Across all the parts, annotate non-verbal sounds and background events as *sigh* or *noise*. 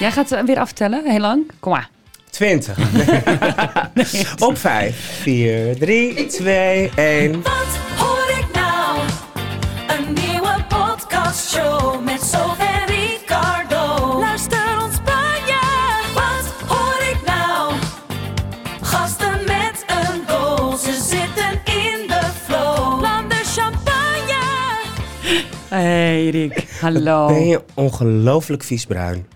Jij gaat eh, weer aftellen, heel lang. Kom maar. 20. Op 5, 4, 3, 2, 1. Wat hoor ik nou? Een nieuwe podcastshow met Sof en Ricardo. Luister ons Spanje. Wat hoor ik nou? Gasten met een goal, ze zitten in de flow. Lam de champagne. Hey Rick, *laughs* hallo. Ben je ongelooflijk vies bruin?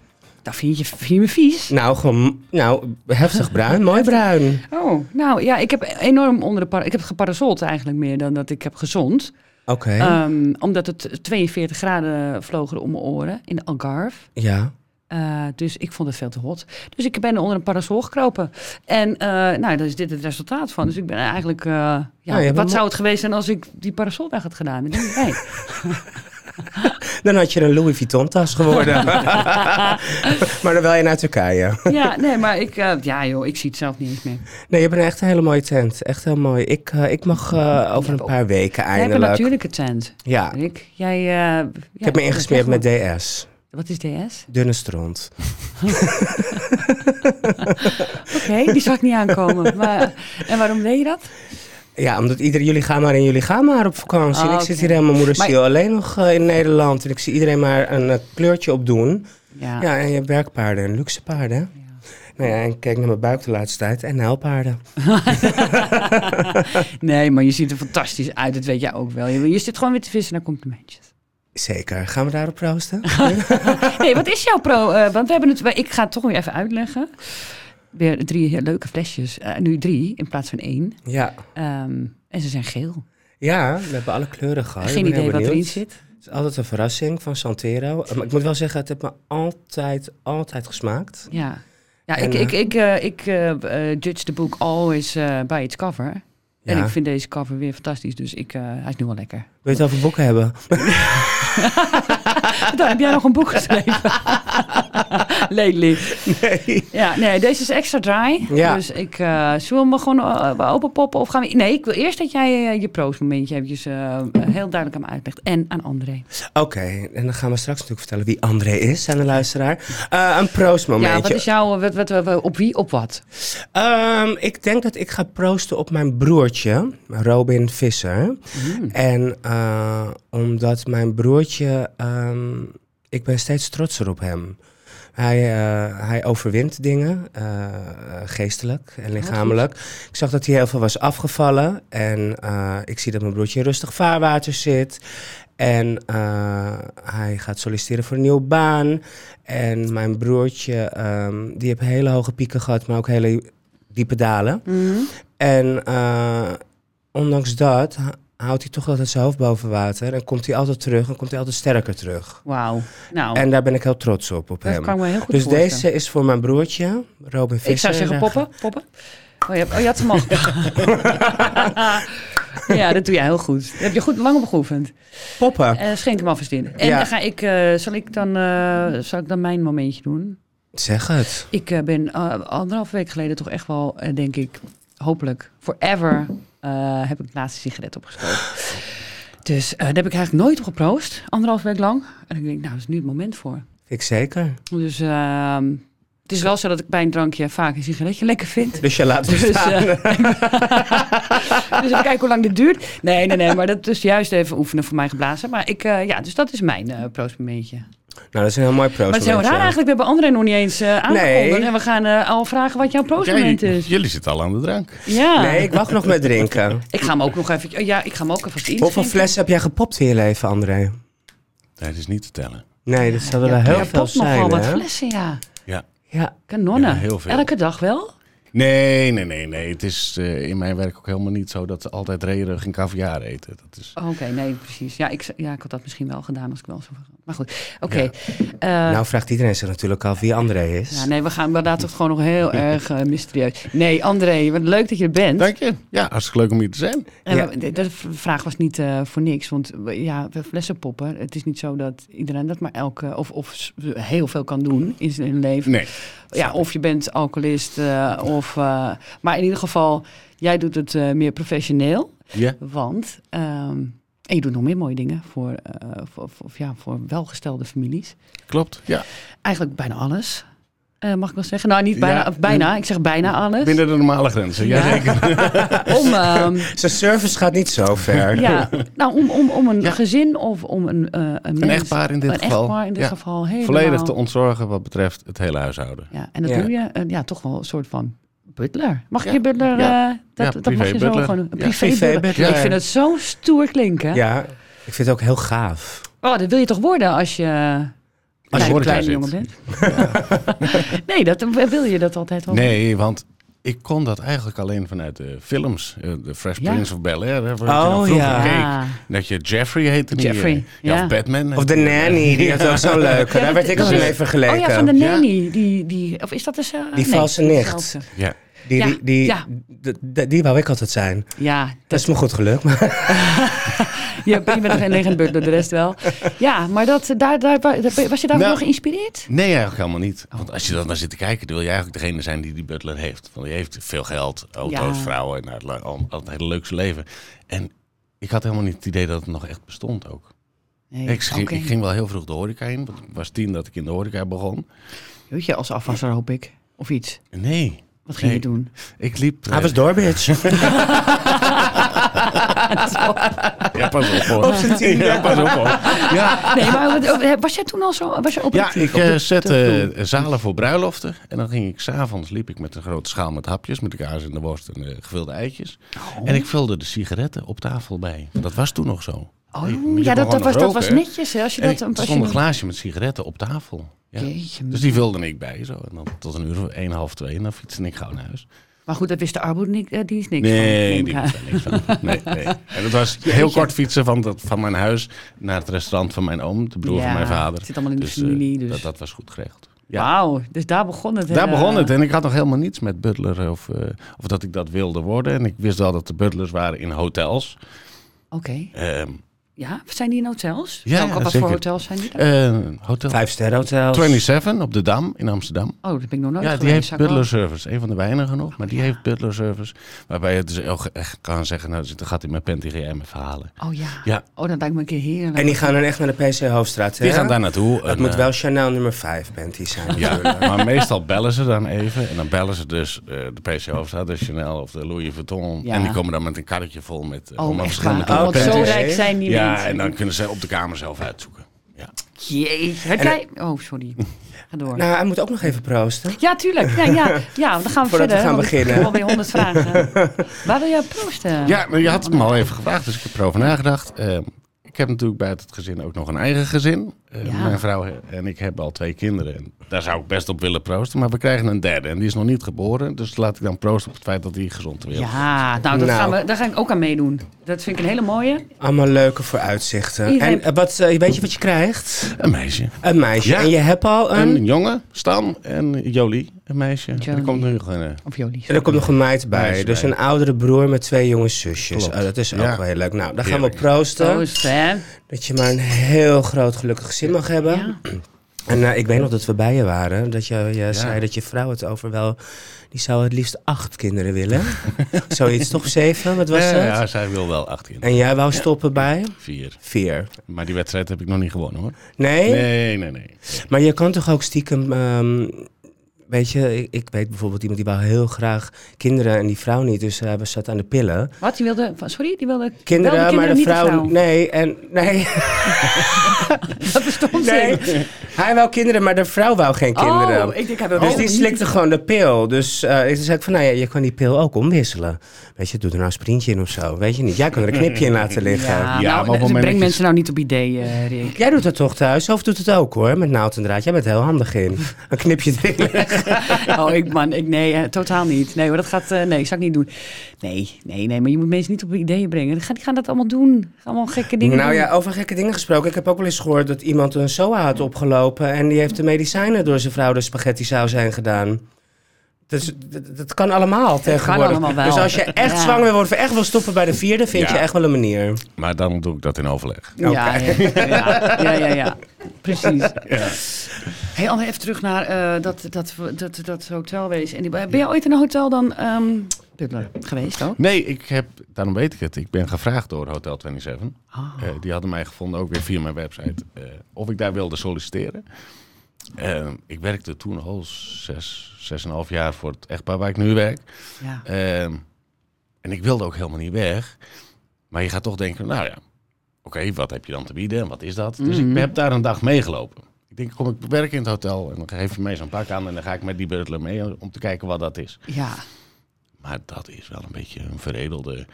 Nou, vind je, vind je me vies? Nou, gewoon, nou, heftig bruin, mooi bruin. Oh, nou ja, ik heb enorm onder de par Ik heb geparasold eigenlijk meer dan dat ik heb gezond. Oké, Ehm, omdat het 42 graden vlogen om mijn oren in de Algarve. ja. Eh, dus ik vond het veel te hot. Dus ik ben onder een parasol gekropen. En eh nou, daar is dit het resultaat van. Dus ik ben eigenlijk... eh, ja, Nou, je wat bent zou het geweest zijn als ik die parasol weg had gedaan? Ik denk, *laughs* nee. Dan had je een Louis Vuitton tas geworden. maar dan wel je naar Turkije. ja, nee, maar ik... eh, ja joh, ik zie het zelf niet eens meer. Nee, je hebt een echt een hele mooie tent. Echt heel mooi. Ik, eh, ik mag eh, over een paar weken Jij hebt eindelijk. een natuurlijke tent, Ja, Rick. Jij... eh, ik heb me ingesmeerd met DS. Wat is DS? Dunne stront. Oké, die zag ik niet *laughs* aankomen. Maar, en waarom deed je dat? Ja, omdat iedereen, jullie gaan maar en jullie gaan maar op vakantie. Oh, en ik oké. zit hier helemaal moeder Maar- ziel alleen nog eh, in Nederland. En ik zie iedereen maar een eh, kleurtje op doen. Ja. Ja. en je hebt werkpaarden en luxe paarden. hè? Nou ja, en ik kijk naar mijn buik de laatste tijd. En nijlpaarden. Nee, maar je ziet er fantastisch uit. Dat weet jij ook wel. Je, je zit gewoon weer te vissen naar complimentjes. Zeker. Gaan we daarop *laughs* proosten? Nee, wat is jouw pro? eh, want we hebben het. Ik ga het toch weer even uitleggen. Weer drie heel leuke flesjes. Eh, nu drie in plaats van één. ja. Ehm, en ze zijn geel. Ja, we hebben alle kleuren gehad. Ah, Ik Geen ben heel idee wat benieuwd. erin zit. Het is altijd een verrassing van Santero. Eh, Maar ik moet wel zeggen, het heeft me altijd, altijd gesmaakt. Ja. Ja, En, ik, ik, ik, eh, ik eh, eh, judge the book always eh, by its cover. En Ja. ik vind deze cover weer fantastisch. Dus ik, eh, hij is nu wel lekker. Wil je het over boeken *laughs* hebben? Dan Ah, heb jij nog een boek geschreven. Lately. Nee. Ja, nee, deze is extra dry. Ja. Dus ik, eh zullen we hem gewoon eh, openpoppen? Of gaan we... Nee, ik wil eerst dat jij eh, je proostmomentje eventjes eh, heel duidelijk aan me uitlegt. En aan André. Oké, en dan gaan we straks natuurlijk vertellen wie André is aan de luisteraar. Eh, een proostmomentje. Ja, wat is jouw... eh, Wat, wat, wat- op wie, op wat? Ehm, ik denk dat ik ga proosten op mijn broertje, Robin Visser. En eh, omdat mijn broertje, ehm, ik ben steeds trotser op hem. Hij, eh, hij overwint dingen, eh, geestelijk en lichamelijk. Ik zag dat hij heel veel was afgevallen. En eh, ik zie dat mijn broertje in rustig vaarwater zit. En eh, hij gaat solliciteren voor een nieuwe baan. En mijn broertje, ehm, die heeft hele hoge pieken gehad, maar ook hele diepe dalen. Mhm. En eh, ondanks dat h- houdt hij toch altijd zijn hoofd boven water. En komt hij altijd terug en komt hij altijd sterker terug. Wauw. Nou, En daar ben ik heel trots op, op dat hem. kan ik me heel goed Dus voorstellen. deze is voor mijn broertje, Robin Visser. Ik zou zeggen En daar poppen, poppen. Oh, je, hebt, oh, je had hem al. *laughs* *laughs* ja, dat doe jij heel goed. Daar heb je goed lang op geoefend. ga- Poppen, Eh, schenk hem alvast in. En Ja. dan ga ik, eh, zal, ik dan, eh, zal ik dan mijn momentje doen? zeg het. Ik eh, ben eh, anderhalf week geleden toch echt wel, eh, denk ik, hopelijk forever eh, heb ik de laatste sigaret opgestoken. Dus eh, daar heb ik eigenlijk nooit op geproost, anderhalf week lang. En ik denk, nou, dat is nu het moment voor. Ik zeker. Dus ehm, het is wel zo dat ik bij een drankje vaak een sigaretje lekker vind. Dus eh, je laat me Dus, staan. eh, *laughs* dus even kijken hoe lang dit duurt. Nee, nee, nee, maar dat is juist even oefenen voor mij geblazen. Maar ik, eh, ja, dus dat is mijn eh proostmomentje. Nou, dat is een heel mooi proces. Maar het is heel raar eigenlijk, we hebben André nog niet eens eh aangekondigd. Nee. En we gaan eh, al vragen wat jouw proostmoment Jij- is. Jullie zitten al aan de drank. Ja. Nee, ik wacht nog met *laughs* drinken. Ik ga hem ook nog even. Ja, ik ga hem ook even in. Hoeveel flessen heb jij gepopt in je leven, André? Nee, dat is niet te tellen. Nee, dat zullen er heel veel zijn, nogal wat hè? flessen, ja. Ja. Ja. Kanonnen. Ja, heel veel. Elke dag wel? Nee, nee, nee, nee. Het is eh, in mijn werk ook helemaal niet zo dat ze altijd rederig en caviar eten. Dat is... Oh, Oké, nee, precies. Ja ik, z- ja, ik had dat misschien wel gedaan als ik wel zo. Maar goed, oké. Ja. Eh, Nou vraagt iedereen zich natuurlijk al wie André is. ja, nee, we gaan we laten het gewoon nog *laughs* heel erg eh, mysterieus. Nee, André, wat leuk dat je er bent. Dank je. Ja, hartstikke leuk om hier te zijn. En Ja. we- de, de v- vraag was niet eh, voor niks, want we- ja, we flessen poppen. Het is niet zo dat iedereen dat maar elke of, of s- heel veel kan doen in zijn leven. Nee. Ja, of je bent alcoholist, eh, of, eh, maar in ieder geval, jij doet het eh, meer professioneel. Ja. Want, ehm, en je doet nog meer mooie dingen voor, eh, voor, voor- ja, voor welgestelde families. Klopt. Ja. Eigenlijk bijna alles. Eh, mag ik wel zeggen? Nou, niet bijna. Ja. eh, of bijna. Ik zeg bijna alles. Binnen de normale grenzen, Ja. jazeker. *laughs* Om, ehm, Zijn service gaat niet zo ver. ja, nou, om, om, om een Ja. gezin of om een, eh een, mens, echtpaar in dit een geval. echtpaar in dit Ja. geval helemaal. Volledig te ontzorgen wat betreft het hele huishouden. Ja, en dat Ja. doe je eh, ja, toch wel een soort van butler. Mag ik Ja. je butler? Ja. eh, dat, Ja, dat mag je zo privébutler. gewoon. Een Ja. privé Privébutler. Ik vind het zo stoer klinken. Ja, ik vind het ook heel gaaf. Oh, dat wil je toch worden als je, Als klein- je horeca kleine zit. jongen bent? nee, dat, wil je dat altijd wel? Nee, want ik kon dat eigenlijk alleen vanuit de films. Eh, De Fresh Ja. Prince of Bel-Air. hè, Oh, waar je nou vroeger ja. keek. Dat je Jeffrey heette. niet, Jeffrey, eh, Ja, ja. Of Batman. Of de nanny, die had ook zo'n leuke. Daar werd ik ook mee Oh vergeleken. ja, van de Ja. nanny. Die, die, of is dat dus... Die valse nicht. Ja. Die, Ja, die, die, ja. d- d- die wou ik altijd zijn. Ja, Dat is me goed gelukt. Maar je, je bent nog geen legend butler, de rest wel. Ja, maar dat, daar, daar, was je daar Nou. nog geïnspireerd? Nee, eigenlijk helemaal niet. Want als je dan naar zit te kijken, dan wil je eigenlijk degene zijn die die butler heeft. Want die heeft veel geld, auto's, Ja. vrouwen, nou, het, le- al, al het hele leukste leven. En ik had helemaal niet het idee dat het nog echt bestond ook. Nee, Ik, ging, oké. ik ging wel heel vroeg de horeca in, want ik was tien dat ik in de horeca begon. Weet je, als afwasser hoop ik. Of iets. Nee, Wat ging Nee. je doen? ik liep... hij eh, was door, *laughs* bitch. Ja, pas op Oh, hoor. Ja, pas op hoor. Ja, Nee, maar wat- was jij toen al zo... Was je ja operatief ik op de- eh, de zette vloer? eh, zalen voor bruiloften. En dan ging ik s'avonds, liep ik met een grote schaal met hapjes, met de kaas en de worst en eh, gevulde eitjes. Oh. En ik vulde de sigaretten op tafel bij. Want Dat was toen nog zo. Oh, Je- je kon ja, dat, dat, gewoon was, dat roken, was hè? netjes. Hè? Als je En dat, ik- er als stond je een glaasje met sigaretten op tafel. Ja. Jeetje, Dus die vulde ik bij zo. En dan tot een uur of 1, half twee. En dan fietste ik gauw naar huis. Maar goed, dat wist de armoede niet, eh, die is niks. Nee, van, die denk was ik. daar niks van. Nee, nee. En dat was heel kort fietsen van, dat, van mijn huis naar het restaurant van mijn oom, de broer Ja, van mijn vader. het zit allemaal in de eh, familie, dus. Dat, dat was goed geregeld. Ja. Wauw, dus daar begon het. Daar eh, begon het. En ik had nog helemaal niets met butler of, eh, of dat ik dat wilde worden. En ik wist wel dat er butlers waren in hotels. Oké. Ehm Ja, zijn die in hotels? Ja, Welke- ja, Wat zeker. voor hotels zijn die? daar? eh, hotel Vijf sterren hotels. 27 op de Dam in Amsterdam. oh, dat ben ik nog nooit Ja, geweest. die heeft zou ik wel- butler service. Een van de weinigen nog, maar die heeft butler service. Waarbij je dus ook echt kan zeggen, nou, er zit een gat in mijn pent, die ga jij me verhalen. Oh ja. Ja. Oh, dat lijkt me een keer heerlijk. En die gaan dan echt naar de PC Hoofdstraat. hè? Die gaan daar naartoe. Het en, moet eh, wel Chanel nummer 5 bent die zijn. Ja, natuurlijk. maar meestal bellen ze dan even. En dan bellen ze dus eh, de PC Hoofdstad, de Chanel of de Louis Vuitton. Ja. En die komen dan met een karretje vol met eh, Oh, allemaal echt waar. verschillende Oh, kleuren want zo pens. kleuren. rijk zijn die Ja, mensen. en dan kunnen ze op de kamer zelf uitzoeken. Ja. Jeet. Heb jij... Oh, sorry. Ga door. Nou, hij moet ook nog even proosten. Ja, tuurlijk. Ja, ja, ja dan gaan we Voordat we verder. gaan want Ik beginnen. heb alweer honderd vragen. Waar wil jij proosten? ja, maar je had het me al even gevraagd, dus ik heb erover nagedacht. Eh, ik heb natuurlijk buiten het gezin ook nog een eigen gezin. Eh, Ja. Mijn vrouw en ik hebben al twee kinderen. En daar zou ik best op willen proosten. Maar we krijgen een derde en die is nog niet geboren. Dus laat ik dan proosten op het feit dat die gezond weer is. Ja, nou, dat Nou. Gaan we, daar ga ik ook aan meedoen. Dat vind ik een hele mooie. Allemaal leuke vooruitzichten. Iedereen- En eh, wat, eh, weet je wat je krijgt? Een meisje. Een meisje. Ja. En je hebt al een... Een jongen, Stan en Jolie, een meisje. Jolie. Er komt nu nog een... eh, Of jullie. En er komt nog een meid bij. Meisje dus bij. een oudere broer met twee jonge zusjes. Klopt. Oh, dat is ook Ja. wel heel leuk. Nou, dan gaan we Heerlijk. proosten. Zo Oh, is het, hè? Dat je maar een heel groot gelukkig gezin mag hebben. Ja. En eh, ik weet nog dat we bij je waren. Dat je, je zei dat je vrouw het over wel... Die zou het liefst acht kinderen *laughs* willen. Zoiets, toch? Zeven? Wat was ja, het? ja, zij wil wel acht kinderen. En jij wou stoppen bij? Vier. Vier. Maar die wedstrijd heb ik nog niet gewonnen hoor. Nee? Nee, nee, nee. Maar je kan toch ook stiekem... ehm, weet je, ik, ik weet bijvoorbeeld iemand die wou heel graag kinderen en die vrouw niet. Dus hij was zat aan de pillen. Wat? Die wilde... Sorry, die wilde... wel de Kinderen, maar de niet vrouw, Nee, en... *laughs* Nee. Dat is stom Nee, hij wou kinderen, maar de vrouw wou geen kinderen. Oh, ik denk hij wil dus wel die niet. slikte gewoon de pil. Dus eh, ik zei ik van, nou ja, je kan die pil ook omwisselen. Weet je, doe er nou een sprintje in of zo. Weet je niet, jij kan er een knipje in laten liggen. Ja, Ja, maar nou, op het dus moment dat breng je- mensen nou niet op idee, eh, Rick. Jij doet dat toch thuis? Of doet het ook hoor, met naald en draad. Jij bent heel handig in. Een knipje erin. *laughs* Oh, ik, man, ik, nee, eh, totaal niet. Nee, maar dat gaat, eh, nee, zou ik niet doen. Nee, nee, nee, maar je moet mensen niet op ideeën brengen. Die gaan, die gaan dat allemaal doen. Gaan allemaal gekke dingen nou doen. ja, over gekke dingen gesproken. Ik heb ook wel eens gehoord dat iemand een SOA had opgelopen. En die heeft de medicijnen door zijn vrouw de spaghetti saus heen gedaan. Dus dat, dat kan allemaal tegenwoordig. allemaal wel. Dus als je echt Ja. zwanger wil worden, of echt wil stoppen bij de vierde, vind Ja. je echt wel een manier. Maar dan doe ik dat in overleg. Ja, ja, ja, ja, ja, ja. precies. Hey, Anne, even terug naar eh, dat, dat, dat, dat hotelwezen. En die- ben jij ooit in een hotel dan ehm butler geweest ook? Nee, ik heb, daarom weet ik het. Ik ben gevraagd door Hotel 27. Ah. Eh, die hadden mij gevonden, ook weer via mijn website, eh, of ik daar wilde solliciteren. Eh, ik werkte toen al zes, zes en een half jaar voor het echtpaar waar ik nu werk. Ja. Ehm, en ik wilde ook helemaal niet weg. Maar je gaat toch denken, nou ja, oké, wat heb je dan te bieden en wat is dat? Dus Mhm. ik heb daar een dag meegelopen. Ik denk, kom ik werken in het hotel en dan geef je mij zo'n pak aan... en dan ga ik met die butler mee om te kijken wat dat is. ja. Maar dat is wel een beetje een veredelde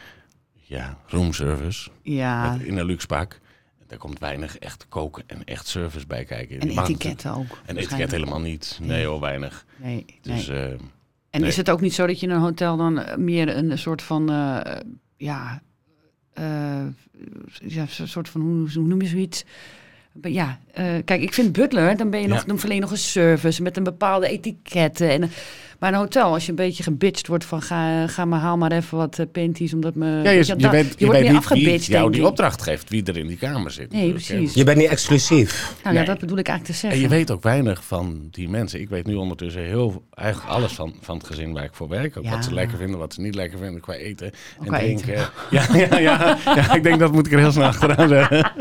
ja, roomservice Ja. met- in een luxe pak. Daar komt weinig echt koken en echt service bij kijken. En Je mag etiketten ook. natuurlijk- En etiket waarschijnlijk. helemaal niet. Nee hoor, weinig. Nee, nee. Dus eh, en nee. is het ook niet zo dat je in een hotel dan eh, meer een soort van, eh, ja, eh, ja, zo- soort van, hoe, hoe noem je zoiets? Ja, eh, kijk, ik vind butler, dan ben je nog, Ja. dan verleen je nog een service met een bepaalde etiketten. En, maar een hotel, als je een beetje gebitcht wordt van ga, ga maar haal maar even wat eh, panties, omdat me... ja, je, weet je, dat- weet, je wordt weet meer niet wie afgebitcht, jou denk die ik. opdracht geeft. Wie er in die kamer zit. Nee, natuurlijk, hè. precies. Je bent niet exclusief. Nou ja, Nee. dat bedoel ik eigenlijk te En zeggen. je weet ook weinig van die mensen. Ik weet nu ondertussen heel eigenlijk alles van, van het gezin waar ik voor werk. Ook Ja. Wat ze lekker vinden, wat ze niet lekker vinden qua eten en qua eten. drinken. Ja, ja, *laughs* ja, ja, ik denk dat moet ik er heel snel achteraan zeggen.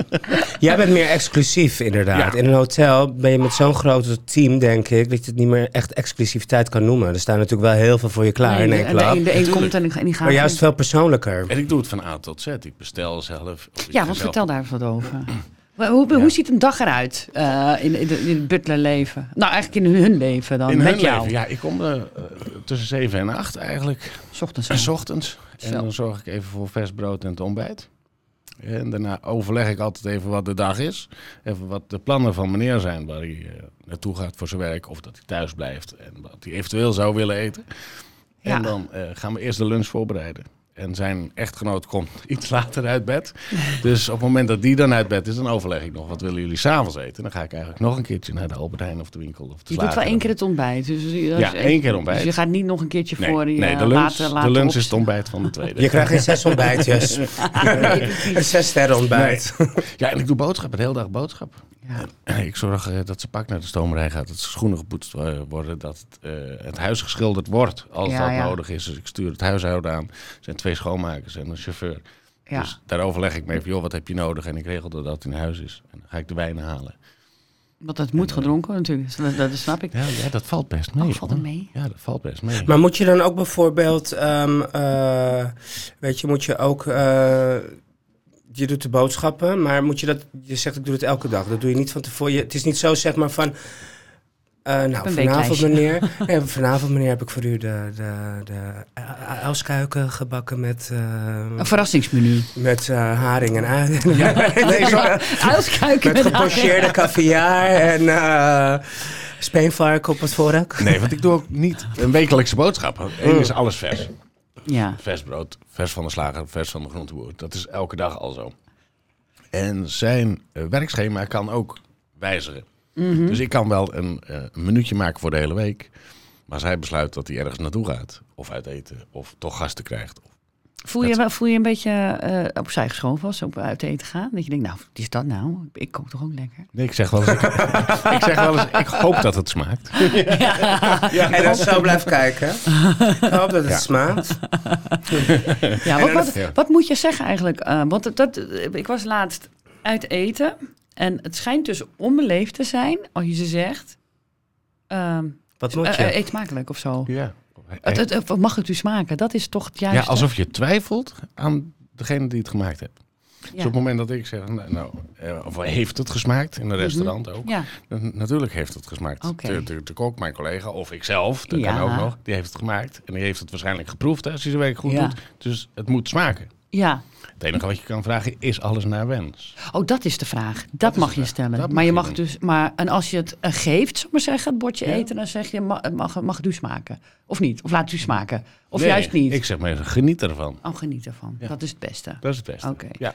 Jij bent meer exclusief, inderdaad. Ja. In een hotel ben je met zo'n groot team, denk ik, dat je het niet meer echt exclusiviteit kan noemen. Er staan natuurlijk wel heel veel voor je klaar Nee, in de, één de, klap. een- de een komt en die- en die gaat. Maar juist veel persoonlijker. En ik doe het van A tot Z. Ik bestel zelf. of ik Ja, ga want zelf vertel daar eens wat over. *clears throat* Hoe, hoe, hoe ziet een dag eruit eh, in, in, de- in het butlerleven? Nou, eigenlijk in hun leven dan, In met hun jou. leven, ja. Ik kom eh, eh, tussen 7 en *clears throat* 8 eigenlijk. S ochtends. En 's ochtends. En Zo. dan zorg ik even voor vers brood en het ontbijt. En daarna overleg ik altijd even wat de dag is. Even wat de plannen van meneer zijn waar hij eh, naartoe gaat voor zijn werk. Of dat hij thuis blijft en wat hij eventueel zou willen eten. Ja. En dan eh, gaan we eerst de lunch voorbereiden. En zijn echtgenoot komt *laughs* iets later uit bed. Dus op het moment dat die dan uit bed is, dan overleg ik nog. Wat willen jullie s'avonds eten? Dan ga ik eigenlijk nog een keertje naar de Albert Heijn of de winkel. Of de Je doet wel slager. één keer het ontbijt. Dus, als je- als Ja, je- één keer ontbijt. Dus je gaat niet nog een keertje Nee, voor je nee, de eh, lunch, later, later de lunch op- is het ontbijt van de tweede. Je krijgt geen *laughs* zes ontbijtjes. een *laughs* zes sterren ontbijt. Ja, en ik doe boodschap, de hele dag boodschap. Ja. En ik zorg eh, dat ze pak naar de stomerij gaat, dat ze schoenen gepoetst eh, worden, dat het, eh, het huis geschilderd wordt als Ja, dat ja. nodig is. Dus ik stuur het huishouden aan. Er zijn twee schoonmakers en een chauffeur. Ja. Dus daar overleg ik mee van, joh, wat heb je nodig? En ik regel dat dat in huis is. En dan ga ik de wijn halen. Want dat moet gedronken natuurlijk. Dus Dat, dat snap ik. Ja, ja dat valt best mee. Oh, valt het hoor. mee? Ja, dat valt best mee. Maar moet je dan ook bijvoorbeeld, ehm, eh, weet je, moet je ook, eh, je doet de boodschappen, maar moet je dat, je zegt ik doe het elke dag. Dat doe je niet van tevoren. Je, het is niet zo zeg maar van, eh, nou een vanavond weeklijstje. *laughs* meneer, nee, vanavond meneer heb ik voor u de, de, de eh, uilskuiken gebakken met, eh, Een *laughs* verrassingsmenu. met eh, haring en ui. *laughs* Nee, zo- *laughs* Uilskuiken. met gepocheerde caviar en eh speenvark op het vork. Nee, want ik doe ook niet een wekelijkse boodschap. Eén is alles vers. *laughs* Ja. Vers brood, vers van de slager, vers van de groenteboer. Dat is elke dag al zo. En zijn eh, werkschema kan ook wijzigen. Mhm. Dus ik kan wel een, eh, een minuutje maken voor de hele week. Maar als hij besluit dat hij ergens naartoe gaat, of uit eten, of toch gasten krijgt. of- Voel je, wel- voel je een beetje eh, opzij geschoven als ze op uit eten gaan? Dat je denkt, nou, wat is dat nou? Ik kook toch ook lekker? Nee, ik zeg wel eens, ik, *laughs* ik zeg wel eens, ik hoop dat het smaakt. En dan zo blijf *laughs* kijken. Ik hoop dat het smaakt. Ja, En wat, dan- wat, ja. wat moet je zeggen eigenlijk? Eh, want dat, dat, ik was laatst uit eten. En het schijnt dus onbeleefd te zijn als je ze zegt. ehm, Wat moet eh, eh, je? eet smakelijk of zo. Ja. Eh, Het, het- het- mag het u smaken? Dat is toch het ja, juiste? alsof je twijfelt aan degene die het gemaakt heeft. Dus Ja. op het moment dat ik zeg, nou, nou, eh, of heeft het gesmaakt in een restaurant ook. Ja. N- Natuurlijk heeft het gesmaakt. Oké. De, de, de kok, mijn collega, of ikzelf, dat Ja. kan ook nog, die heeft het gemaakt. En die heeft het waarschijnlijk geproefd hè, als hij zijn werk goed Ja. doet. Dus het moet smaken. ja. Het enige wat je kan vragen is alles naar wens. Oh, dat is de vraag. Dat, is mag de je vraag. stellen. Dat maar mag je je mag doen. dus. Maar en als je het eh, geeft, zal ik maar zeggen, het bordje Ja. eten, dan zeg je mag, mag, mag het u smaken. Of niet? Of laat het u smaken. Of Nee, juist niet. Ik zeg maar, even, geniet ervan. Oh, geniet ervan. Dat is het beste. Dat is het beste. Oké. Ja.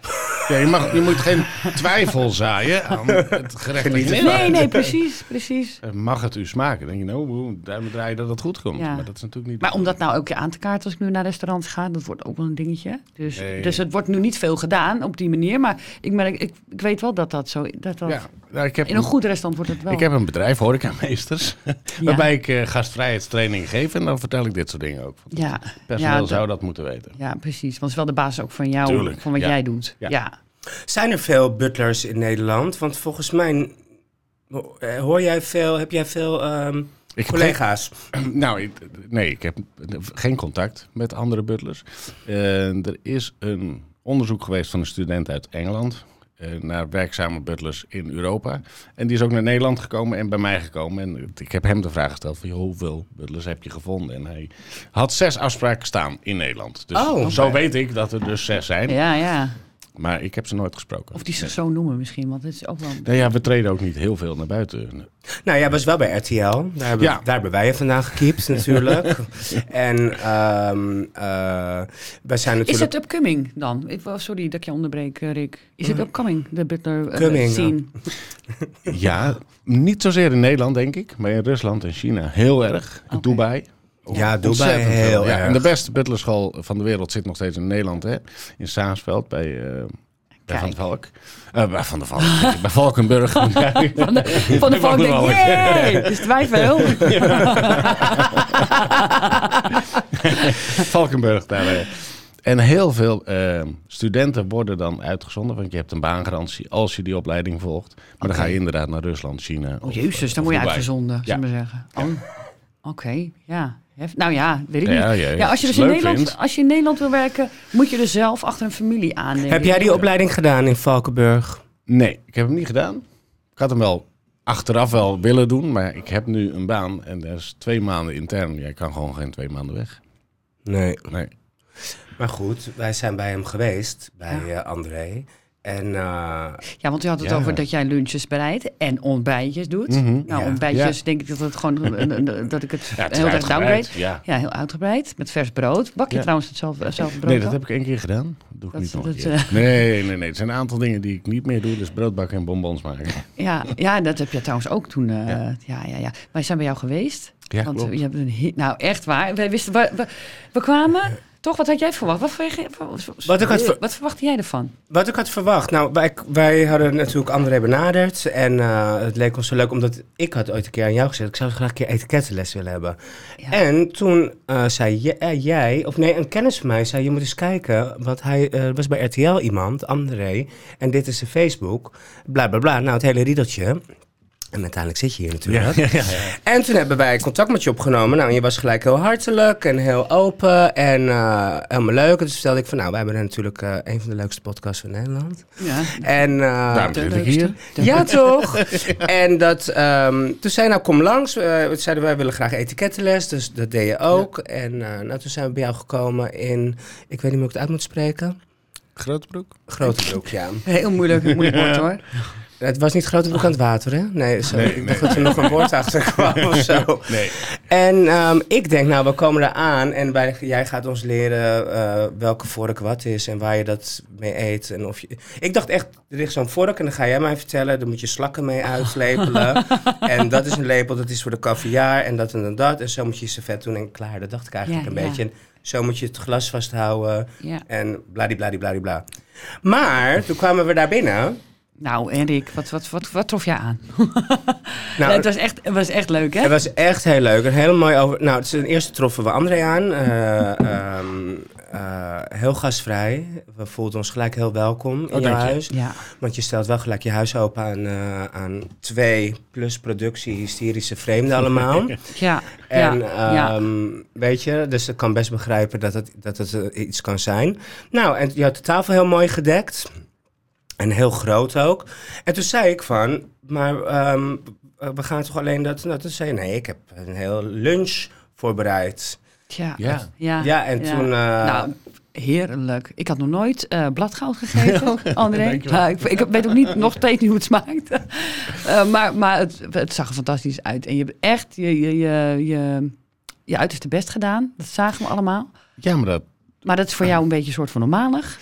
Ja, je, mag, je moet geen twijfel zaaien *laughs* aan het gerecht. dat je Geniet maakt. Nee, nee, precies, precies. Eh, Mag het u smaken? Dan denk je, nou, hoe, daarmee draai je dat het goed komt. Ja. Maar dat is natuurlijk niet... Maar om dat nou ook aan te kaarten als ik nu naar restaurants ga, dat wordt ook wel een dingetje. Dus, Nee. dus het wordt nu niet veel gedaan op die manier. Maar ik, merk, ik, ik weet wel dat dat zo dat dat Ja, nou, ik heb In een goed restaurant wordt het wel. Ik heb een bedrijf, horecameesters, *laughs* waarbij ik eh, gastvrijheidstraining geef. En dan vertel ik dit soort dingen ook. Want ja, personeel ja, dat- zou dat moeten weten. ja, precies. Want het is wel de basis ook van jou, Tuurlijk, van wat ja. jij doet. Ja. Ja. ja. Zijn er veel butlers in Nederland? Want volgens mij Ho- eh, Hoor jij veel, heb jij veel ehm, Ik heb geen- *clears throat* collega's? Nou, ik- nee, ik heb geen contact met andere butlers. Eh, er is een onderzoek geweest van een student uit Engeland eh, naar werkzame butlers in Europa. En die is ook naar Nederland gekomen en bij mij gekomen. En het- ik heb hem de vraag gesteld van, joh, hoeveel butlers heb je gevonden? En hij had zes afspraken staan in Nederland. Dus Oh. zo weet ik dat er dus zes zijn. Ja, ja. Maar ik heb ze nooit gesproken. Of die zich zo noemen misschien, want het is ook wel... Nou ja, we treden ook niet heel veel naar buiten. Nou, jij was wel bij RTL. Daar hebben, Ja. daar hebben wij je vandaan *laughs* gekiept natuurlijk. en ehm, eh, wij zijn Is natuurlijk... het upcoming dan? Ik, oh, sorry dat ik je onderbreek, eh, Rick. Is Mm. het upcoming, de butler eh, Coming, scene? Ja, niet zozeer in Nederland, denk ik. Maar in Rusland en China heel erg. Oké. Dubai. Oh, Ja, Dubai Ontzettend veel. heel erg. En de beste butlerschool van de wereld zit nog steeds in Nederland, hè? In Saasveld bij, eh, bij Van Kijk. de Valk. Eh, bij Van de Valk, *laughs* denk ik. bij *laughs* Valkenburg. Van de, van *laughs* de valk de denk Valk. ik, "Yay!" is het twijfel. *laughs* Valkenburg daar. eh. En heel veel eh, studenten worden dan uitgezonden, want je hebt een baangarantie als je die opleiding volgt. Maar dan ga je inderdaad naar Rusland, China. Oh of, jezus, of dan word je Dubai. uitgezonden, Ja. zullen we zeggen. Oh, Oké, ja. Hef- Nou ja, weet ik Ja, niet. ja, ja. Ja, als, je dus Als in je het leuk Nederland, vindt. als je in Nederland wil werken, moet je er zelf achter een familie aan. denk Heb ik. jij die opleiding gedaan in Valkenburg? Nee, ik heb hem niet gedaan. Ik had hem wel achteraf wel willen doen, maar ik heb nu een baan en dat is twee maanden intern. Jij kan gewoon geen twee maanden weg. Nee. Nee. Maar goed, wij zijn bij hem geweest, bij eh, André. En eh, Ja, want je had het Ja. over dat jij lunches bereidt en ontbijtjes doet. Mhm. nou, Mhm. Ja. ontbijtjes denk ik dat het gewoon een- een- een- dat ik het Ja, het is heel erg uitgebreid, downgrade. Ja. Ja, heel uitgebreid. Met vers brood. Bak je Ja. trouwens hetzelfde zelf brood? Nee, dat dan? heb ik één keer gedaan. Dat doe Dat- ik eh, niet nog dat, een keer. Nee, nee, nee. Het zijn een aantal dingen die ik niet meer doe. Dus brood bakken en bonbons maken. Ja, ja, dat heb je trouwens ook toen. eh, ja. ja, ja, Wij zijn bij jou geweest. Ja, want klopt. eh, je hebt een hit. Nou, echt waar. Wij wisten, we, we, we kwamen. Toch, wat had jij verwacht? Wat, verge- Eh, Wat ik had ver- wat verwachtte jij ervan? Wat ik had verwacht. Nou, wij, wij hadden natuurlijk André benaderd. En eh, het leek ons zo leuk, omdat ik had ooit een keer aan jou gezegd... ik zou graag een keer etikettenles willen hebben. Ja. En toen eh, zei je- eh, jij, of nee, een kennis van mij zei... je moet eens kijken, want hij eh, was bij RTL iemand, André... en dit is zijn Facebook, bla bla bla. Nou, het hele riedeltje. En uiteindelijk zit je hier natuurlijk. En toen hebben wij contact met je opgenomen. Nou, en je was gelijk heel hartelijk en heel open en eh, helemaal leuk. En toen stelde ik van, nou, wij hebben natuurlijk eh, een van de leukste podcasts van Nederland. Ja, En, eh, Daarom de zit ik leukste. hier. De- ja, toch? En dat, ehm, toen zei hij, nou kom langs. Eh, we zeiden wij willen graag etikettenles, dus dat deed je ook. En eh, nou, toen zijn we bij jou gekomen in, ik weet niet hoe ik het uit moet spreken. Grote broek. Grote broek, ja. Heel moeilijk, moeilijk woord hoor. Het was niet grote broek aan het water, hè? Nee, sorry. Nee, ik dacht dat er nog een woord achter kwam of zo. Nee. En ehm, ik denk, nou, we komen eraan en wij, jij gaat ons leren eh, welke vork wat is en waar je dat mee eet. En of je, ik dacht echt, er ligt zo'n vork en dan ga jij mij vertellen, dan moet je slakken mee *laughs* uitlepelen. en dat is een lepel, dat is voor de caviar en dat en dan dat. En zo moet je je servet doen en klaar, dat dacht ik eigenlijk Ja, een ja. beetje. En zo moet je het glas vasthouden Ja. en bladibladibladibla. Maar toen kwamen we daar binnen. Nou, Erik, wat, wat, wat, wat trof jij aan? Nou, het, was echt, het was echt leuk, hè? Het was echt heel leuk. Een hele mooi over. Nou, ten eerste troffen we André aan. eh, ehm, eh, heel gastvrij. We voelden ons gelijk heel welkom in je dank je. huis. Ja, Want je stelt wel gelijk je huis open aan, eh, aan twee plus productie hysterische vreemden allemaal. ja, ja, En ja. ehm, weet je, dus ik kan best begrijpen dat het, dat het eh, iets kan zijn. Nou, en je had de tafel heel mooi gedekt. En heel groot ook. En toen zei ik van, maar ehm, eh, we gaan toch alleen dat... Nou, toen zei je, nee, ik heb een heel lunch voorbereid. Tja. Ja. Ja, Ja, en toen... eh, Nou, heerlijk. Ik had nog nooit eh, bladgoud gegeten, André. Nou, ik, ik weet ook niet, nog steeds niet hoe het smaakt. *laughs* Eh, maar maar het, het zag er fantastisch uit. En je hebt echt je, je, je, je, je uiterste best gedaan. Dat zagen we allemaal. Ja, maar dat... Maar dat is voor jou een beetje een soort van normalig.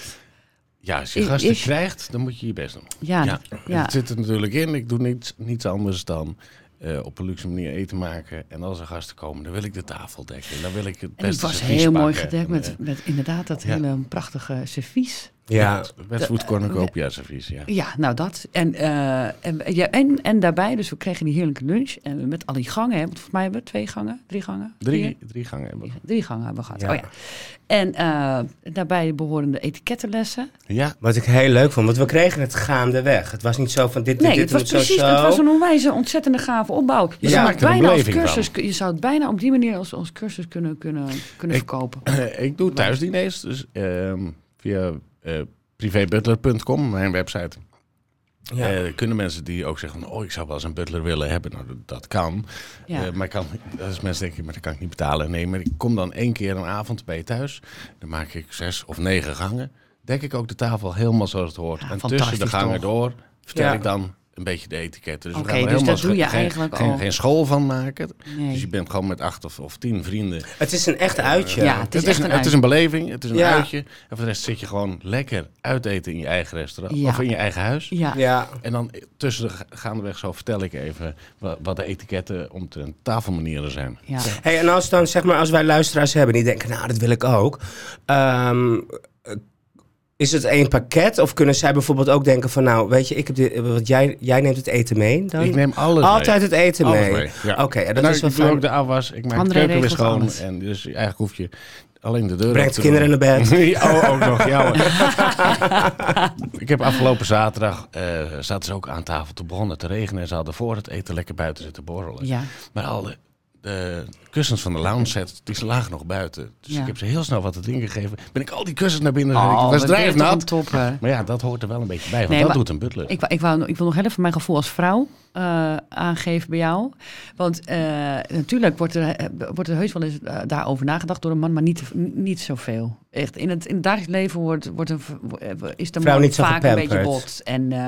Ja, als je I- gasten is- krijgt, dan moet je je best doen. Ja, Ja, ja. En dat zit er natuurlijk in. Ik doe niets, niets anders dan eh, op een luxe manier eten maken. En als er gasten komen, dan wil ik de tafel dekken. Dan wil ik het En beste het was servies heel mooi pakken. gedekt En, eh, met, met inderdaad dat ja. hele prachtige servies. Ja, Westwood Cornucopia servies, ja. Ja, nou dat. En, eh, en, ja, en, en daarbij, dus we kregen die heerlijke lunch. En met al die gangen, hè, want volgens mij hebben we twee gangen, drie gangen. vier? Drie, drie gangen hebben we. Drie gangen hebben we gehad. Ja. Oh ja. En eh, daarbij behorende etikettenlessen. Ja, wat ik heel leuk vond, want we kregen het gaandeweg. Het was niet zo van dit, dit, Nee, dit het was moet zo, precies, zo. het was een onwijze, ontzettende gave opbouw. Je, Ja, zou, het maakt er een bijna als beleving cursus, kun- je zou het bijna op die manier als, als cursus kunnen, kunnen, kunnen Ik- verkopen. *clears throat* ik doe thuisdiners, dus ehm, via eh privébutler.com, mijn website. Ja. Eh, kunnen mensen die ook zeggen, van, oh, ik zou wel eens een butler willen hebben. Nou, dat- dat kan. Ja. Eh, maar kan, als mensen denken, maar dat kan ik niet betalen. Nee, maar ik kom dan één keer een avond bij je thuis. Dan maak ik zes of negen gangen. Dek ik ook de tafel helemaal zoals het hoort. Ja, en tussen fantastisch de gangen toch? door vertel Ja. ik dan een beetje de etiketten. Dus we Oké, gaan er dus helemaal dat doe je geen, eigenlijk geen, al. geen school van maken. Nee. Dus je bent gewoon met acht of, of tien vrienden. Het is een echt uitje. Ja, het is echt een een, het is een beleving, het is een Ja. uitje. En voor de rest zit je gewoon lekker uit eten in je eigen restaurant. Ja. Of in je eigen huis. ja. Ja. En dan tussen de ga- gaandeweg zo vertel ik even wa- wat de etiketten omtrent tafelmanieren zijn. Ja. Hey, en als, dan, zeg maar, als wij luisteraars hebben die denken, nou, dat wil ik ook. Ehm, is het één pakket? Of kunnen zij bijvoorbeeld ook denken van, nou, weet je, ik heb dit, want jij, jij neemt het eten mee dan? Ik neem alles mee. Altijd het eten Alles mee. mee, ja. Oké, en dat Nou, is wel ik doe fijn. ook de afwas, ik maak de André keuken weer regelt schoon. alles. En dus eigenlijk hoef je alleen de deur Brengt de kinderen naar bed. bed. oh, ook nog, *laughs* ja hoor. *laughs* ik heb afgelopen zaterdag, eh, zaten ze ook aan tafel. Toen begon het te regenen en ze hadden voor het eten lekker buiten zitten borrelen. Ja. Maar al de, de kussens van de lounge set, die lagen nog buiten. Dus Ja. ik heb ze heel snel wat te drinken gegeven. Ben ik al die kussens naar binnen gereden. Oh, Ik was wat ben je toch drijfnat. een topper. Maar ja, dat hoort er wel een beetje bij, want Nee, dat maar- doet een butler. Ik, wou- ik, wou, ik wil nog heel even mijn gevoel als vrouw eh, aangeven bij jou. Want eh, natuurlijk wordt er, eh, wordt er heus wel eens eh, daarover nagedacht door een man, maar niet, niet zoveel. Echt, in het, in het dagelijks leven wordt, wordt een, v- wo- eh, is de Vrouw man niet zo vaak een beetje gepamperd. bot. En eh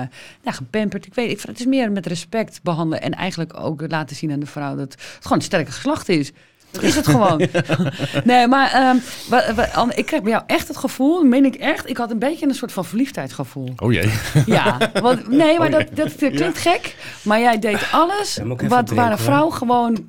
ja, gepamperd, ik weet ik, het is meer met respect behandelen en eigenlijk ook laten zien aan de vrouw dat het gewoon een sterke geslacht is. Dat is het *laughs* gewoon. Nee, maar ehm, wa- wa- Anne, ik krijg bij jou echt het gevoel, meen ik echt, ik had een beetje een soort van verliefdheidsgevoel. Oh jee. Ja, want, nee, maar Oh, ja. dat, dat klinkt gek. Maar jij deed alles Ja, moet ik wat, even waar een drinken, vrouw gewoon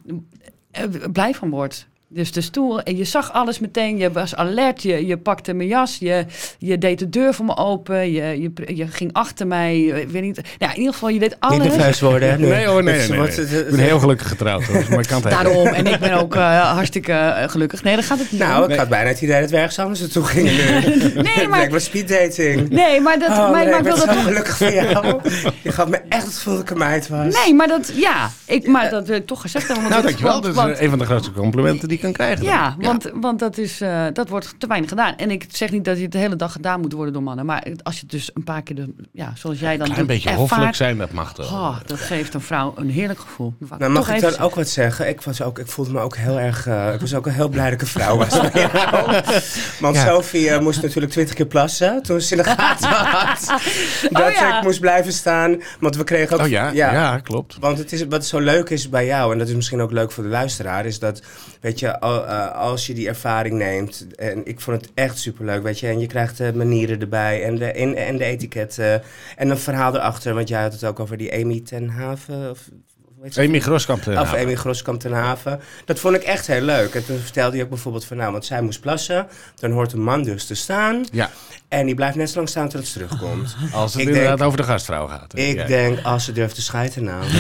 eh, blij van wordt. Dus de stoel, en je zag alles meteen, je was alert, je, je pakte mijn jas, je, je deed de deur voor me open, je, je, pr- je ging achter mij, ik weet niet. Nou, in ieder geval, je deed Niet alles. nerveus worden. hè, nu. *laughs* Nee hoor, nee, Het nee, nee, wordt- nee. het- het- Ik ben heel gelukkig getrouwd, hoor, dus maar ik kan het even. Daarom, en ik ben ook eh, hartstikke eh, gelukkig. Nee, dat gaat het niet om. Nou, ik had bijna het idee dat we ergens anders naartoe gingen nu. *laughs* nee, Het maar, lijkt wel speeddating. nee, maar, dat, Oh, maar, nee, maar ik ik ben wil zo dat toch gelukkig voor jou. *laughs* Je gaf me echt het gevoel dat ik een meid was. Nee, maar dat, ja, ik, maar dat wil ik toch gezegd hebben. Want Nou, dat- dankjewel. want- dus, Dat is want- eh, een van de grootste complimenten die ik kan krijgen. dan. Ja, want, want dat, is, eh, dat wordt te weinig gedaan. En ik zeg niet dat je het de hele dag gedaan moet worden door mannen. Maar het- als je het dus een paar keer, de, ja, zoals jij dan Klein doet, beetje ervaart- hoffelijk zijn, dat mag toch. Oh, dat geeft een vrouw een heerlijk gevoel. Dat wou Nou, ik mag toch ik even dan ook wat zeggen? Ik, was ook, ik voelde me ook heel erg... eh, ik was ook een heel blij dat ik een vrouw was. *laughs* Want Ja. Sophie eh, moest natuurlijk twintig keer plassen toen ze in *laughs* de gaten had. dat Oh ja. ik moest blijven staan. Want we kregen ook... Oh ja, ja. klopt. Want het is, wat zo leuk is bij jou, en dat is misschien ook leuk voor de luisteraar, is dat, weet je, al- eh, als je die ervaring neemt, en ik vond het echt superleuk, weet je, en je krijgt de manieren erbij en de, in, en de etiketten en een verhaal erachter, want jij had het ook over die Amy ten Haven, of, hoe heet ze? Amy Groskamp. eh, Of Amy Groskamp ten Haven. Dat vond ik echt heel leuk. En toen vertelde hij ook bijvoorbeeld van, nou, want zij moest plassen, dan hoort een man dus te staan, Ja, en die blijft net zo lang staan tot het *laughs* terugkomt. als het Ik inderdaad denk- over de gastvrouw gaat. hè. Ik Ja. denk, als ze durft te schijten nou. *laughs*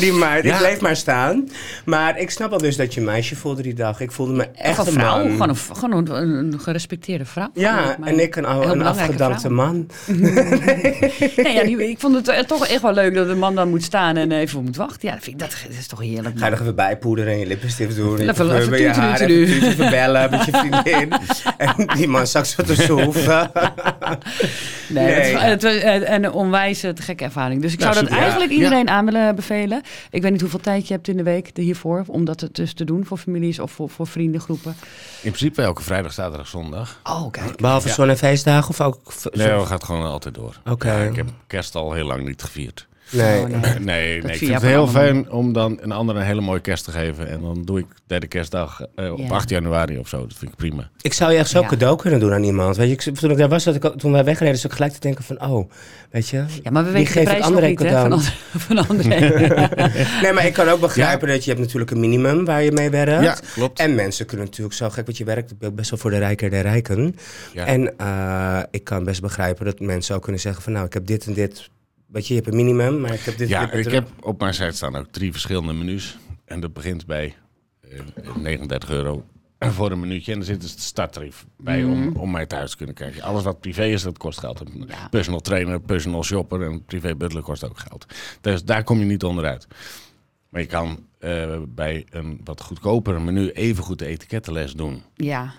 die meid, Ja. ik bleef maar staan. Maar ik snap al dus dat je een meisje voelde die dag. Ik voelde me echt een een vrouw, man. gewoon, een, gewoon een, een gerespecteerde vrouw. ja, Maar- en ik een, heel oude, een belangrijke afgedankte vrouw. man. Nee, ja, die- ik vond het eh, toch echt wel leuk dat de man dan moet staan en even moet wachten. Ja, dat, vind ik, dat, dat is toch heerlijk. Ga je man. nog even bijpoederen en je lippenstift doen. Even- je even bij je haar, toeteloetelu. even toetje verbellen met je vriendin. *laughs* en die man zag zo te soeven. Nee, Nee. Het, het was eh, een onwijs eh, te gekke ervaring. Dus ik Nou, zou dat super, ja. eigenlijk iedereen aan willen bevelen. Ik weet niet hoeveel tijd je hebt in de week hiervoor om dat dus te doen voor families of voor, voor vriendengroepen. In principe elke vrijdag, zaterdag, zondag. Oh, kijk. Behalve zon- en feestdagen of ook... v- Nee, dat gaat gewoon altijd door. Oké. Ja, ik heb kerst al heel lang niet gevierd. *clears throat* Nee. Oh, nee. Nee, nee ik zie vind jij het op een heel andere fijn om dan een ander een hele mooie kerst te geven. En dan doe ik derde kerstdag eh, op Ja. 8 januari of zo. Dat vind ik prima. Ik zou je echt zo Ja. cadeau kunnen doen aan iemand. Weet je, ik, toen ik daar was, zat ik, ook- toen wij wegreden, zat ik gelijk te denken van, oh, weet je. Ja, maar we die weten de geef ik prijs nog André niet, hè, van, cadeau. André- *laughs* van André. *laughs* Nee, maar ik kan ook begrijpen dat je hebt natuurlijk een minimum waar je mee werkt. Ja, klopt. En mensen kunnen natuurlijk zo gek, want je werkt ook best wel voor de rijker der rijken. Ja. En eh, ik kan best begrijpen dat mensen ook kunnen zeggen van, nou, ik heb dit en dit. Weet je, je hebt een minimum, maar ik heb dit en Ja, dit. ik bedrag. heb op mijn site staan ook drie verschillende menus. En dat begint bij eh, 39 euro voor een minuutje. En er zit dus het starttarief bij om, om mij thuis te kunnen kijken. Alles wat privé is, dat kost geld. Een Mhm. Ja. personal trainer, personal shopper en privé butler kost ook geld. Dus daar kom je niet onderuit. Maar je kan eh, bij een wat goedkoper menu even goed de etikettenles doen. ja.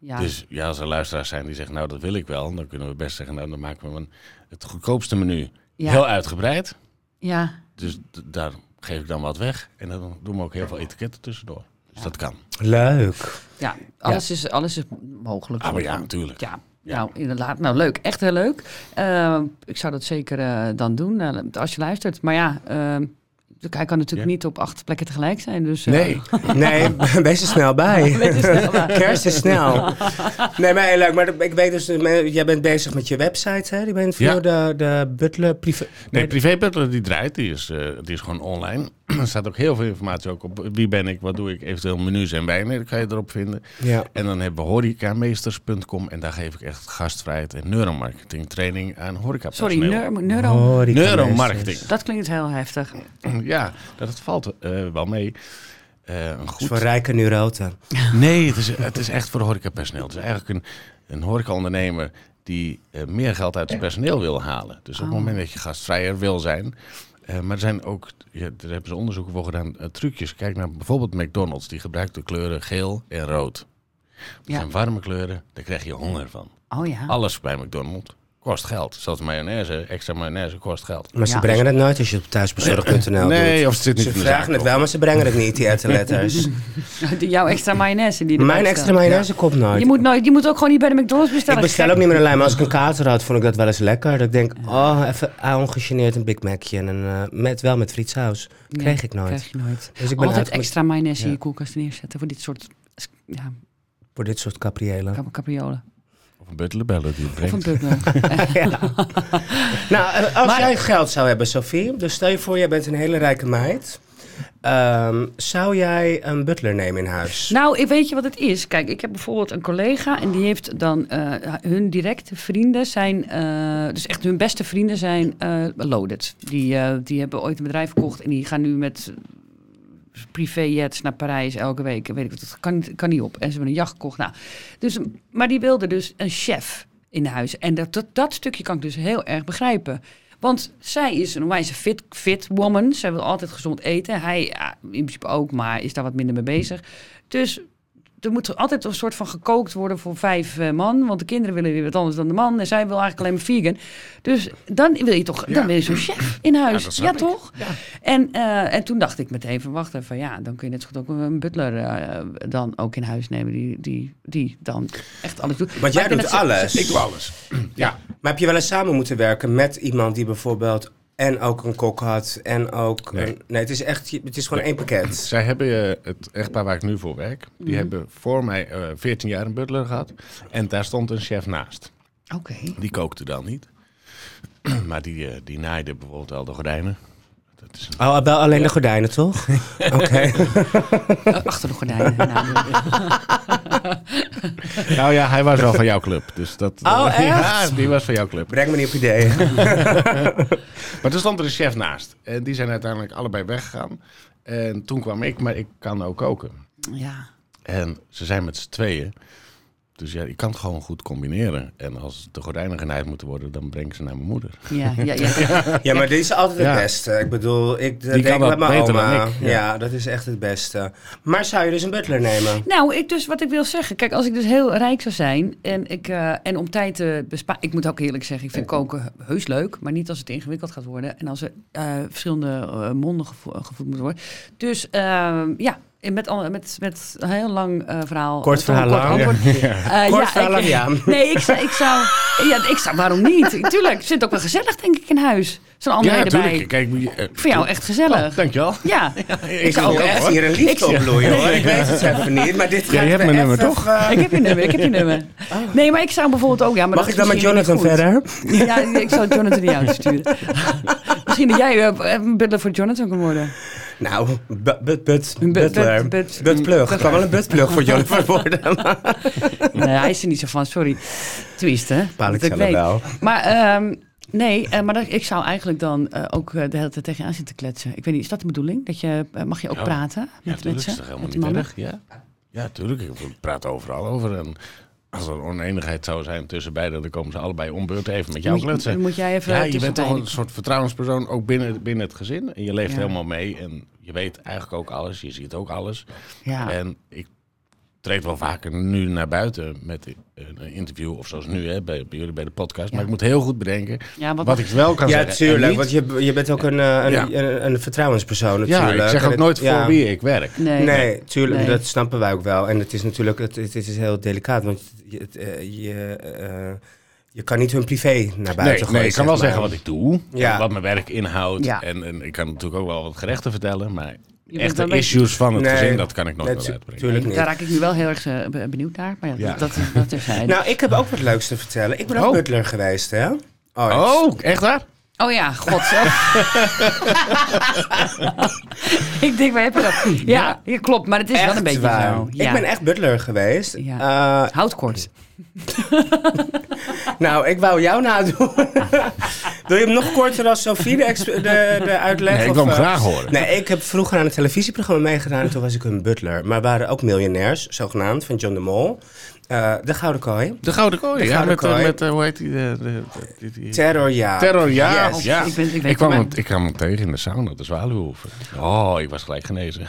ja. Dus ja, als er luisteraars zijn die zeggen, nou dat wil ik wel, dan kunnen we best zeggen, nou dan maken we een, het goedkoopste menu Ja. heel uitgebreid. ja. Dus d- daar geef ik dan wat weg. En dan doen we ook heel veel etiketten tussendoor. Dus dat kan. Leuk. Ja, alles, Is, alles is mogelijk. Ah, maar ja, natuurlijk. Ja, nou inderdaad. Nou leuk, echt heel leuk. Eh, ik zou dat zeker eh, dan doen eh, als je luistert. Maar ja, eh, hij kan natuurlijk Ja. niet op acht plekken tegelijk zijn. Dus, eh, Nee, Nee, *laughs* wees er snel bij. weet je wel, maar- Kerst is snel. Nee, maar heel leuk. Maar ik weet dus, eh, jij bent bezig met je website, hè? Je bent voor Ja. de, de butler privé... nee Privé Butler die draait, die is, eh, die is gewoon online. *clears throat* er staat ook heel veel informatie ook op wie ben ik, wat doe ik, eventueel menus en wijnen, dat kan je erop vinden. Ja. En dan hebben we horecameesters.com en daar geef ik echt gastvrijheid en neuromarketing training aan horeca Sorry, neur- neuro. Horeca- Neuromarketing. Dat klinkt heel heftig. *clears throat* Ja, dat valt eh, wel mee. Eh, een Dus goed voor rijke neuroten. Nee, het is, het is echt voor horecapersoneel. Het is eigenlijk een, een horecaondernemer die eh, meer geld uit het personeel wil halen. Dus op Oh. het moment dat je gastvrijer wil zijn. eh, maar er zijn ook, ja, daar hebben ze onderzoeken voor gedaan, eh, trucjes. Kijk naar bijvoorbeeld McDonald's. Die gebruikt de kleuren geel en rood. Dat Ja. zijn warme kleuren, daar krijg je honger van. Oh ja. *laughs* Alles bij McDonald's kost geld. Zelfs mayonaise, extra mayonaise kost geld. Maar ze Ja. brengen het nooit als je het op thuisbezorg.nl Nee, doet. of het zit niet Nou, Ze in de vragen zaak, het wel, maar ze brengen het niet, *laughs* die etterletters. Jouw extra mayonaise die erbij Mijn staat. extra mayonaise komt nooit. Je moet, nooit, je moet ook gewoon niet bij de McDonald's bestellen. ik bestel gek. ook niet meer een lijn, maar als ik een kater had, vond ik dat wel eens lekker. Dat ik denk, oh, even ah, ongegeneerd een Big Macje. En een, eh, met, wel met frietsaus. Nee, Kreeg ik nooit. Krijg je nooit. Dus ik ben Altijd uit met- extra mayonaise in je Ja. koelkast neerzetten voor dit soort ja, Voor dit soort caprielen. *laughs* cap- capriolen. Of een butlerbellen die het Of een brengt. butler. Nou, eh, als Maar- jij geld zou hebben, Sophie, dus stel je voor, jij bent een hele rijke meid. Ehm, zou jij een butler nemen in huis? Nou, ik weet je wat het is? Kijk, ik heb bijvoorbeeld een collega en die heeft dan eh, hun directe vrienden zijn, eh, dus echt hun beste vrienden zijn eh, loaded. Die, eh, die hebben ooit een bedrijf verkocht en die gaan nu met privéjets naar Parijs elke week. Weet ik wat, dat kan, niet- kan niet op. En ze hebben een jacht gekocht. Nou, dus, maar die wilde dus een chef in huis. En dat, dat, dat stukje kan ik dus heel erg begrijpen. Want zij is een wijze fit, fit woman. Zij wil altijd gezond eten. Hij ja, in principe ook, maar is daar wat minder mee bezig. Dus er moet altijd een soort van gekookt worden voor vijf eh, man. Want de kinderen willen weer wat anders dan de man. En zij wil eigenlijk alleen maar vegan. Dus dan wil je toch dan wil je zo'n chef in huis. dat Ja, snap ik. toch? En, eh, en toen dacht ik meteen van wacht even. Ja, dan kun je net zo goed ook een butler eh, dan ook in huis nemen. Die, die, die dan echt alles doet. Want jij Maar ik doet vind dat ze- alles. Ik doe alles. Ja. Maar heb je wel eens samen moeten werken met iemand die bijvoorbeeld en ook een kok had en ook... Nee. een- nee het, is echt, het is gewoon één pakket. Zij hebben eh, het echtpaar waar ik nu voor werk. Die hebben voor mij eh 14 jaar een butler gehad. En daar stond een chef naast. Oké. Die kookte dan niet. *clears throat* maar die, eh, die naaide bijvoorbeeld wel de gordijnen. Dat is een... Oh, wel alleen de gordijnen, toch? *laughs* Oké. Eh, Achter de gordijnen. Nou, *laughs* *laughs* Nou ja, hij was wel van jouw club. Dus *laughs* dat, Oh, echt? Ja, die was van jouw club. Breng me niet op ideeën. Maar toen stond er een chef naast. En die zijn uiteindelijk allebei weggegaan. En toen kwam ik, maar ik kan ook koken. ja. En ze zijn met z'n tweeën. Dus ja, ik kan het gewoon goed combineren. En als de gordijnen genaaid moeten worden, dan breng ik ze naar mijn moeder. Ja, ja, ja, *laughs* ja. Ja, maar dit is altijd het Ja. beste. Ik bedoel, ik dat Die denk kan ik dat met mijn beter dan oma. ik, Ja. ja. dat is echt het beste. Maar zou je dus een butler nemen? Nou, ik dus, wat ik wil zeggen. Kijk, als ik dus heel rijk zou zijn en, ik, eh, en om tijd te besparen. Ik moet ook eerlijk zeggen, ik vind koken heus leuk. Maar niet als het ingewikkeld gaat worden. En als er eh, verschillende eh, monden gevo- gevoed moeten worden. Dus eh, ja, in- met, al- met, met een heel lang eh, verhaal. Kort eh, toch een verhaal lang. antwoord. Eh, *laughs* Kort ja, verhaal ik- lang, ja. *laughs* Nee, ik zou, ik zou... Ja, ik zou... Waarom niet? Ik- Tuurlijk, het zit ook wel gezellig, denk ik, in huis. Zo'n André Ja, erbij. natuurlijk. Kijk, moet je, eh, Ik vind jou echt gezellig. oh, dankjewel. *laughs* Ja. Ik zou ook echt hier een liefde op bloeien hoor. Ik weet het even niet, maar dit gaat je hebt weer mijn nummer, even, toch? eh, Ik heb je nummer, ik heb je nummer. Nee, maar ik zou bijvoorbeeld ook... Ja, maar Oh. Mag dat ik is dan met misschien niet Jonathan goed. verder? Ja, ik zou Jonathan die jou *laughs* sturen. Misschien dat jij eh, een butler voor Jonathan kan worden. Nou, but, but, but, But- butler. but- but- Butplug. Ik kan wel een butplug voor *laughs* Jonathan worden. maar- Nee, hij is er niet zo van, sorry. Twist, hè? Paal ik Dat zelf wel. Maar ehm, nee, eh, maar dat, ik zou eigenlijk dan eh, ook eh, de hele tijd tegenaan zitten kletsen. Ik weet niet, is dat de bedoeling? Dat je, eh, mag je ook Ja. praten Ja, met tuurlijk is mensen? toch met de helemaal niet mannen? erg. Ja. ja, tuurlijk. Ik praat overal over. En als er oneenigheid zou zijn tussen beiden, dan komen ze allebei ombeurt even met jou Moet je- kletsen. moet jij even Ja, je bent tussenbij. toch een soort vertrouwenspersoon, ook binnen, binnen het gezin. En je leeft Ja. helemaal mee en je weet eigenlijk ook alles. Je ziet ook alles. Ja. En ik treed wel vaker nu naar buiten met een interview of zoals nu hè, bij, bij jullie bij de podcast. Maar ik moet heel goed bedenken Ja, wat- wat, ik wel kan Ja, zeggen. en tuurlijk. niet. Want je, je bent ook een, eh, een, Ja. een, een vertrouwenspersoon ja, natuurlijk. ik zeg En ook het- nooit voor ja. wie ik werk. Nee. Nee, tuurlijk. Nee. Dat snappen wij ook wel. En het is natuurlijk het, het is heel delicaat. Want je, het, eh, je, eh, je kan niet hun privé naar buiten Nee, gooien. nee, ik kan wel zeg zeggen maar. wat ik doe, Ja. en wat mijn werk inhoudt. Ja. En, en ik kan natuurlijk ook wel wat gerechten vertellen, maar bent echte wel een- issues van het Nee. gezin, dat kan ik nooit Nee, meer tu- uitbrengen. tuurlijk niet. Daar raak ik nu wel heel erg eh, be- benieuwd naar. Maar ja, Ja. dat, dat, dat terzijde. Nou, ik heb ook wat leuks te vertellen. Ik ben ook Oh. butler geweest, hè? Oh, Oh, echt waar? Oh ja, god. *laughs* ik denk, waar heb je dat? Ja, ja, klopt. Maar het is wel een beetje waar. zo. Ja. Ik ben echt butler geweest. Ja. Eh, Houd kort. nou, ik wou jou nadoen. *laughs* Wil je hem nog korter als Sophie de, ex- de, de uitleg? Nee, ik of, wil hem eh, graag horen. Nee, ik heb vroeger aan een televisieprogramma meegedaan en toen was ik een butler. Maar waren ook miljonairs, zogenaamd, van John de Mol. Eh, de Gouden Kooi. De Gouden Kooi, ja, Gouden met, eh, Kooi. met eh, hoe heet die? eh, de- de- die- die- Terror, ja. Terror, ja. Yes. ja. Ik ben- ik weet kwam het hem, ik kwam hem tegen in de sauna, de Zwaluwhoeven. Oh, ik was gelijk genezen.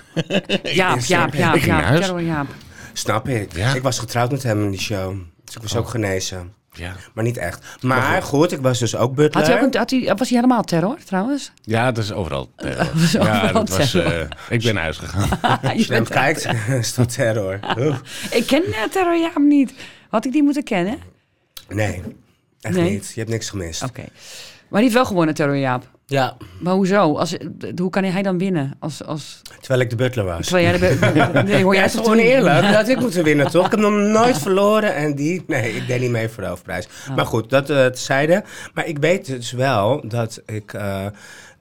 Jaap, Jaap, Jaap, Ik Jaap. ging naar huis. Terror Jaap. Snap ik. Ja. Oh. Ik was getrouwd met hem in die show. Dus ik was ook genezen. *laughs* Ja, Maar niet echt. Maar, goed, ik was dus ook butler. Had hij ook een, had hij, was hij helemaal terror, trouwens? ja dat is overal *laughs* terror. is ja, overal dat was, eh, terror. ik ben naar huis gegaan. *laughs* Je Als je naar bent- hem kijkt, *laughs* is dat terror. Oeh. ik ken eh, terror Jaap niet. Had ik die moeten kennen? Oké. Nee, echt Nee? Oh. niet. Je hebt niks gemist. Maar die heeft wel gewonnen, terror Jaap. Ja. Maar hoezo? Als, hoe kan hij dan winnen? Als, als, Terwijl ik de butler was. terwijl jij de *laughs* be- nee, hoor Ja, jij is toch toch oneerlijk? Dat had ik moeten winnen, toch? Ik heb nog nooit verloren en die... Nee, ik deed niet mee voor de hoofdprijs. Oh. Maar goed, dat eh zeiden. Maar ik weet dus wel dat ik... eh,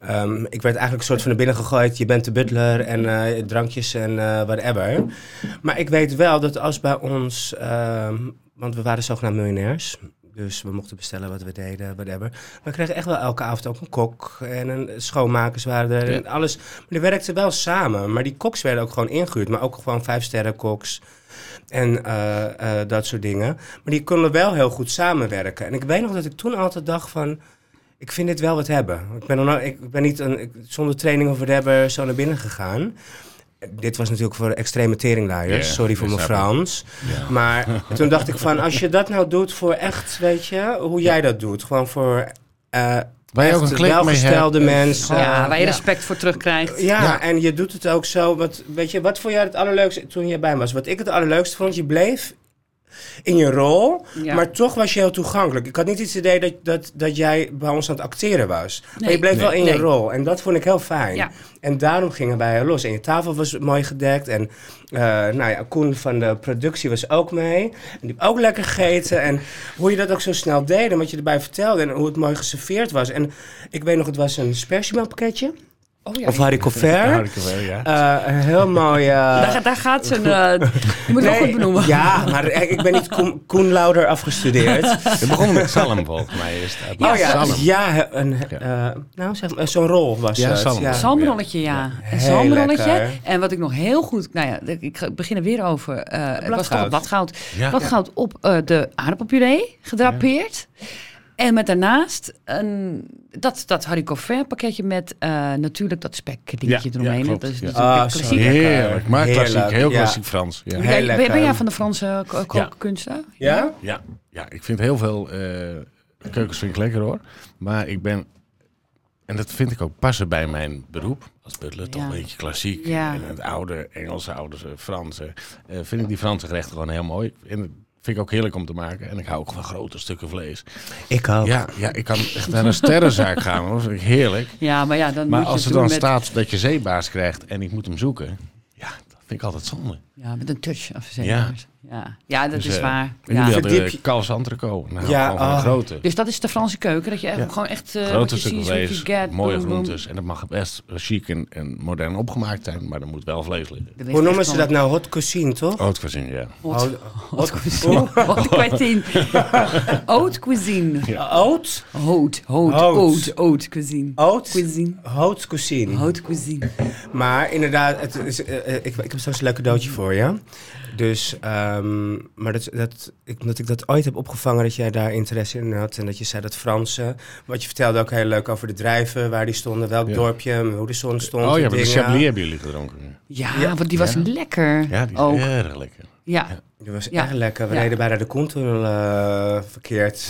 ehm, ik werd eigenlijk een soort van naar binnen gegooid. Je bent de butler en eh, drankjes en eh, whatever. Maar ik weet wel dat als bij ons... ehm, want we waren zogenaamd miljonairs. Dus we mochten bestellen wat we deden, whatever. Maar we kregen echt wel elke avond ook een kok. En een schoonmakers waren er en alles. Maar die werkten wel samen. Maar die koks werden ook gewoon ingehuurd. Maar ook gewoon vijfsterren koks. En eh, eh, dat soort dingen. Maar die konden wel heel goed samenwerken. En ik weet nog dat ik toen altijd dacht van... Ik vind dit wel wat hebben. Ik ben, nog nooit- ik ben niet een, ik- zonder training of whatever zo naar binnen gegaan. Eh, Dit was natuurlijk voor extreme teringlaaiers. Ja, Sorry voor dat mijn snap ik. Frans. Maar toen dacht ik van, als je dat nou doet voor echt, weet je, hoe jij dat doet. Gewoon voor eh Waar je ook echt een klik mee welgestelde hebt. eh, mensen. Ja, waar je ja. respect voor terugkrijgt. Ja, en je doet het ook zo. Wat, weet je, wat vond jij het allerleukste toen je bij me was? Wat ik het allerleukste vond, je bleef in je rol, Ja. maar toch was je heel toegankelijk. Ik had niet het idee dat, dat, dat jij bij ons aan het acteren was. maar Nee. je bleef wel in Nee. je rol en dat vond ik heel fijn. Ja. En daarom gingen wij heel los. En je tafel was mooi gedekt en eh, nou ja, Koen van de productie was ook mee. En die heeft ook lekker gegeten. En hoe je dat ook zo snel deed en wat je erbij vertelde en hoe het mooi geserveerd was. En ik weet nog, het was een spersiemaanpakketje. Oh, ja. Of Harry Ja, Cover. had ik er wel, ja. Eh, een heel mooi. eh, daar, daar gaat zijn... eh je moet het wel nee, goed benoemen. Ja, maar eh, ik ben niet Koen, Koen Lauder *laughs* afgestudeerd. Het begon met Salem volgens mij. Is het. oh ja, Salem. ja, he- een, eh, nou, zeg maar, zo'n rol was Ja, het. Salm. Ja. Salm. Zalmrolletje, ja. Een Heel zalmrolletje. lekker. En wat ik nog heel goed... Nou ja, ik ga- ik begin er weer over. eh het was toch bladgoud. het bladgoud. Ja. Bladgoud op eh, de aardappelpuree, gedrapeerd. En met daarnaast een, dat, dat haricot vert pakketje met eh, natuurlijk dat spekdingetje Ja, ja, eromheen. klopt, dat is ja. natuurlijk Ah, een zo klassiek. Heerlijk, maar Heerlijk, klassiek. Heel ja. klassiek Frans. Ja. Ben, jij- ben lekker. jij van de Franse ko- kookkunsten? Ja? Ja, ja, ik vind heel veel eh, keukens vind ik lekker hoor. Maar ik ben En dat vind ik ook passen bij mijn beroep. Als butler toch Ja. een beetje klassiek. Ja. En het oude Engelse, oude eh, Franse. Eh, vind ik die Franse gerechten gewoon heel mooi. En dat vind ik ook heerlijk om te maken. En ik hou ook van grote stukken vlees. Ik ook. Ja, ja ik kan echt naar een sterrenzaak gaan. hoor. Dat vind ik heerlijk. Ja, maar ja, dan Maar moet je als er het doen dan met, staat dat je zeebaars krijgt en ik moet hem zoeken. Ja, dat vind ik altijd zonde. ja, met een touch of zo. Ja. Ja. Ja. ja, dat Dus, is eh, waar. En jullie Ja. hadden Verdiep eh, je- kals entrecote. Nou, Ja, ja, gewoon van oh. een grote. Dus dat is de Franse keuken, dat je echt, Ja. gewoon echt... eh, wat Grote je stukken ziet, vlees, is what you get, mooie boom, boom. groentes. En dat mag best chic en, en modern opgemaakt zijn, maar er moet wel vlees liggen. Er ligt Hoe noemen echt ze wel dat nou? Hot cuisine, toch? Oud gezien, ja. Hot, hot, cuisine. Hot cuisine. *laughs* Haute cuisine. Oud? Haute, haute, Haute. haute, haute cuisine. Oud? Cuisine. Hot cuisine. Haute cuisine. Maar inderdaad, het is, eh, eh, ik, ik heb straks een leuk cadeautje voor je. Dus, ehm, maar dat, dat, ik, omdat ik dat ooit heb opgevangen, dat jij daar interesse in had. En dat je zei dat Franse, wat je vertelde ook heel leuk over de drijven, waar die stonden, welk Ja. dorpje, hoe de zon stond. Oh die ja, maar de dingen. Chablis hebben jullie gedronken. Ja, Ja. want die was Ja. lekker. Ja, die is ook. erg lekker. Ja. Dat was Ja. echt lekker. We Ja. reden bijna de contour eh, *laughs* verkeerd.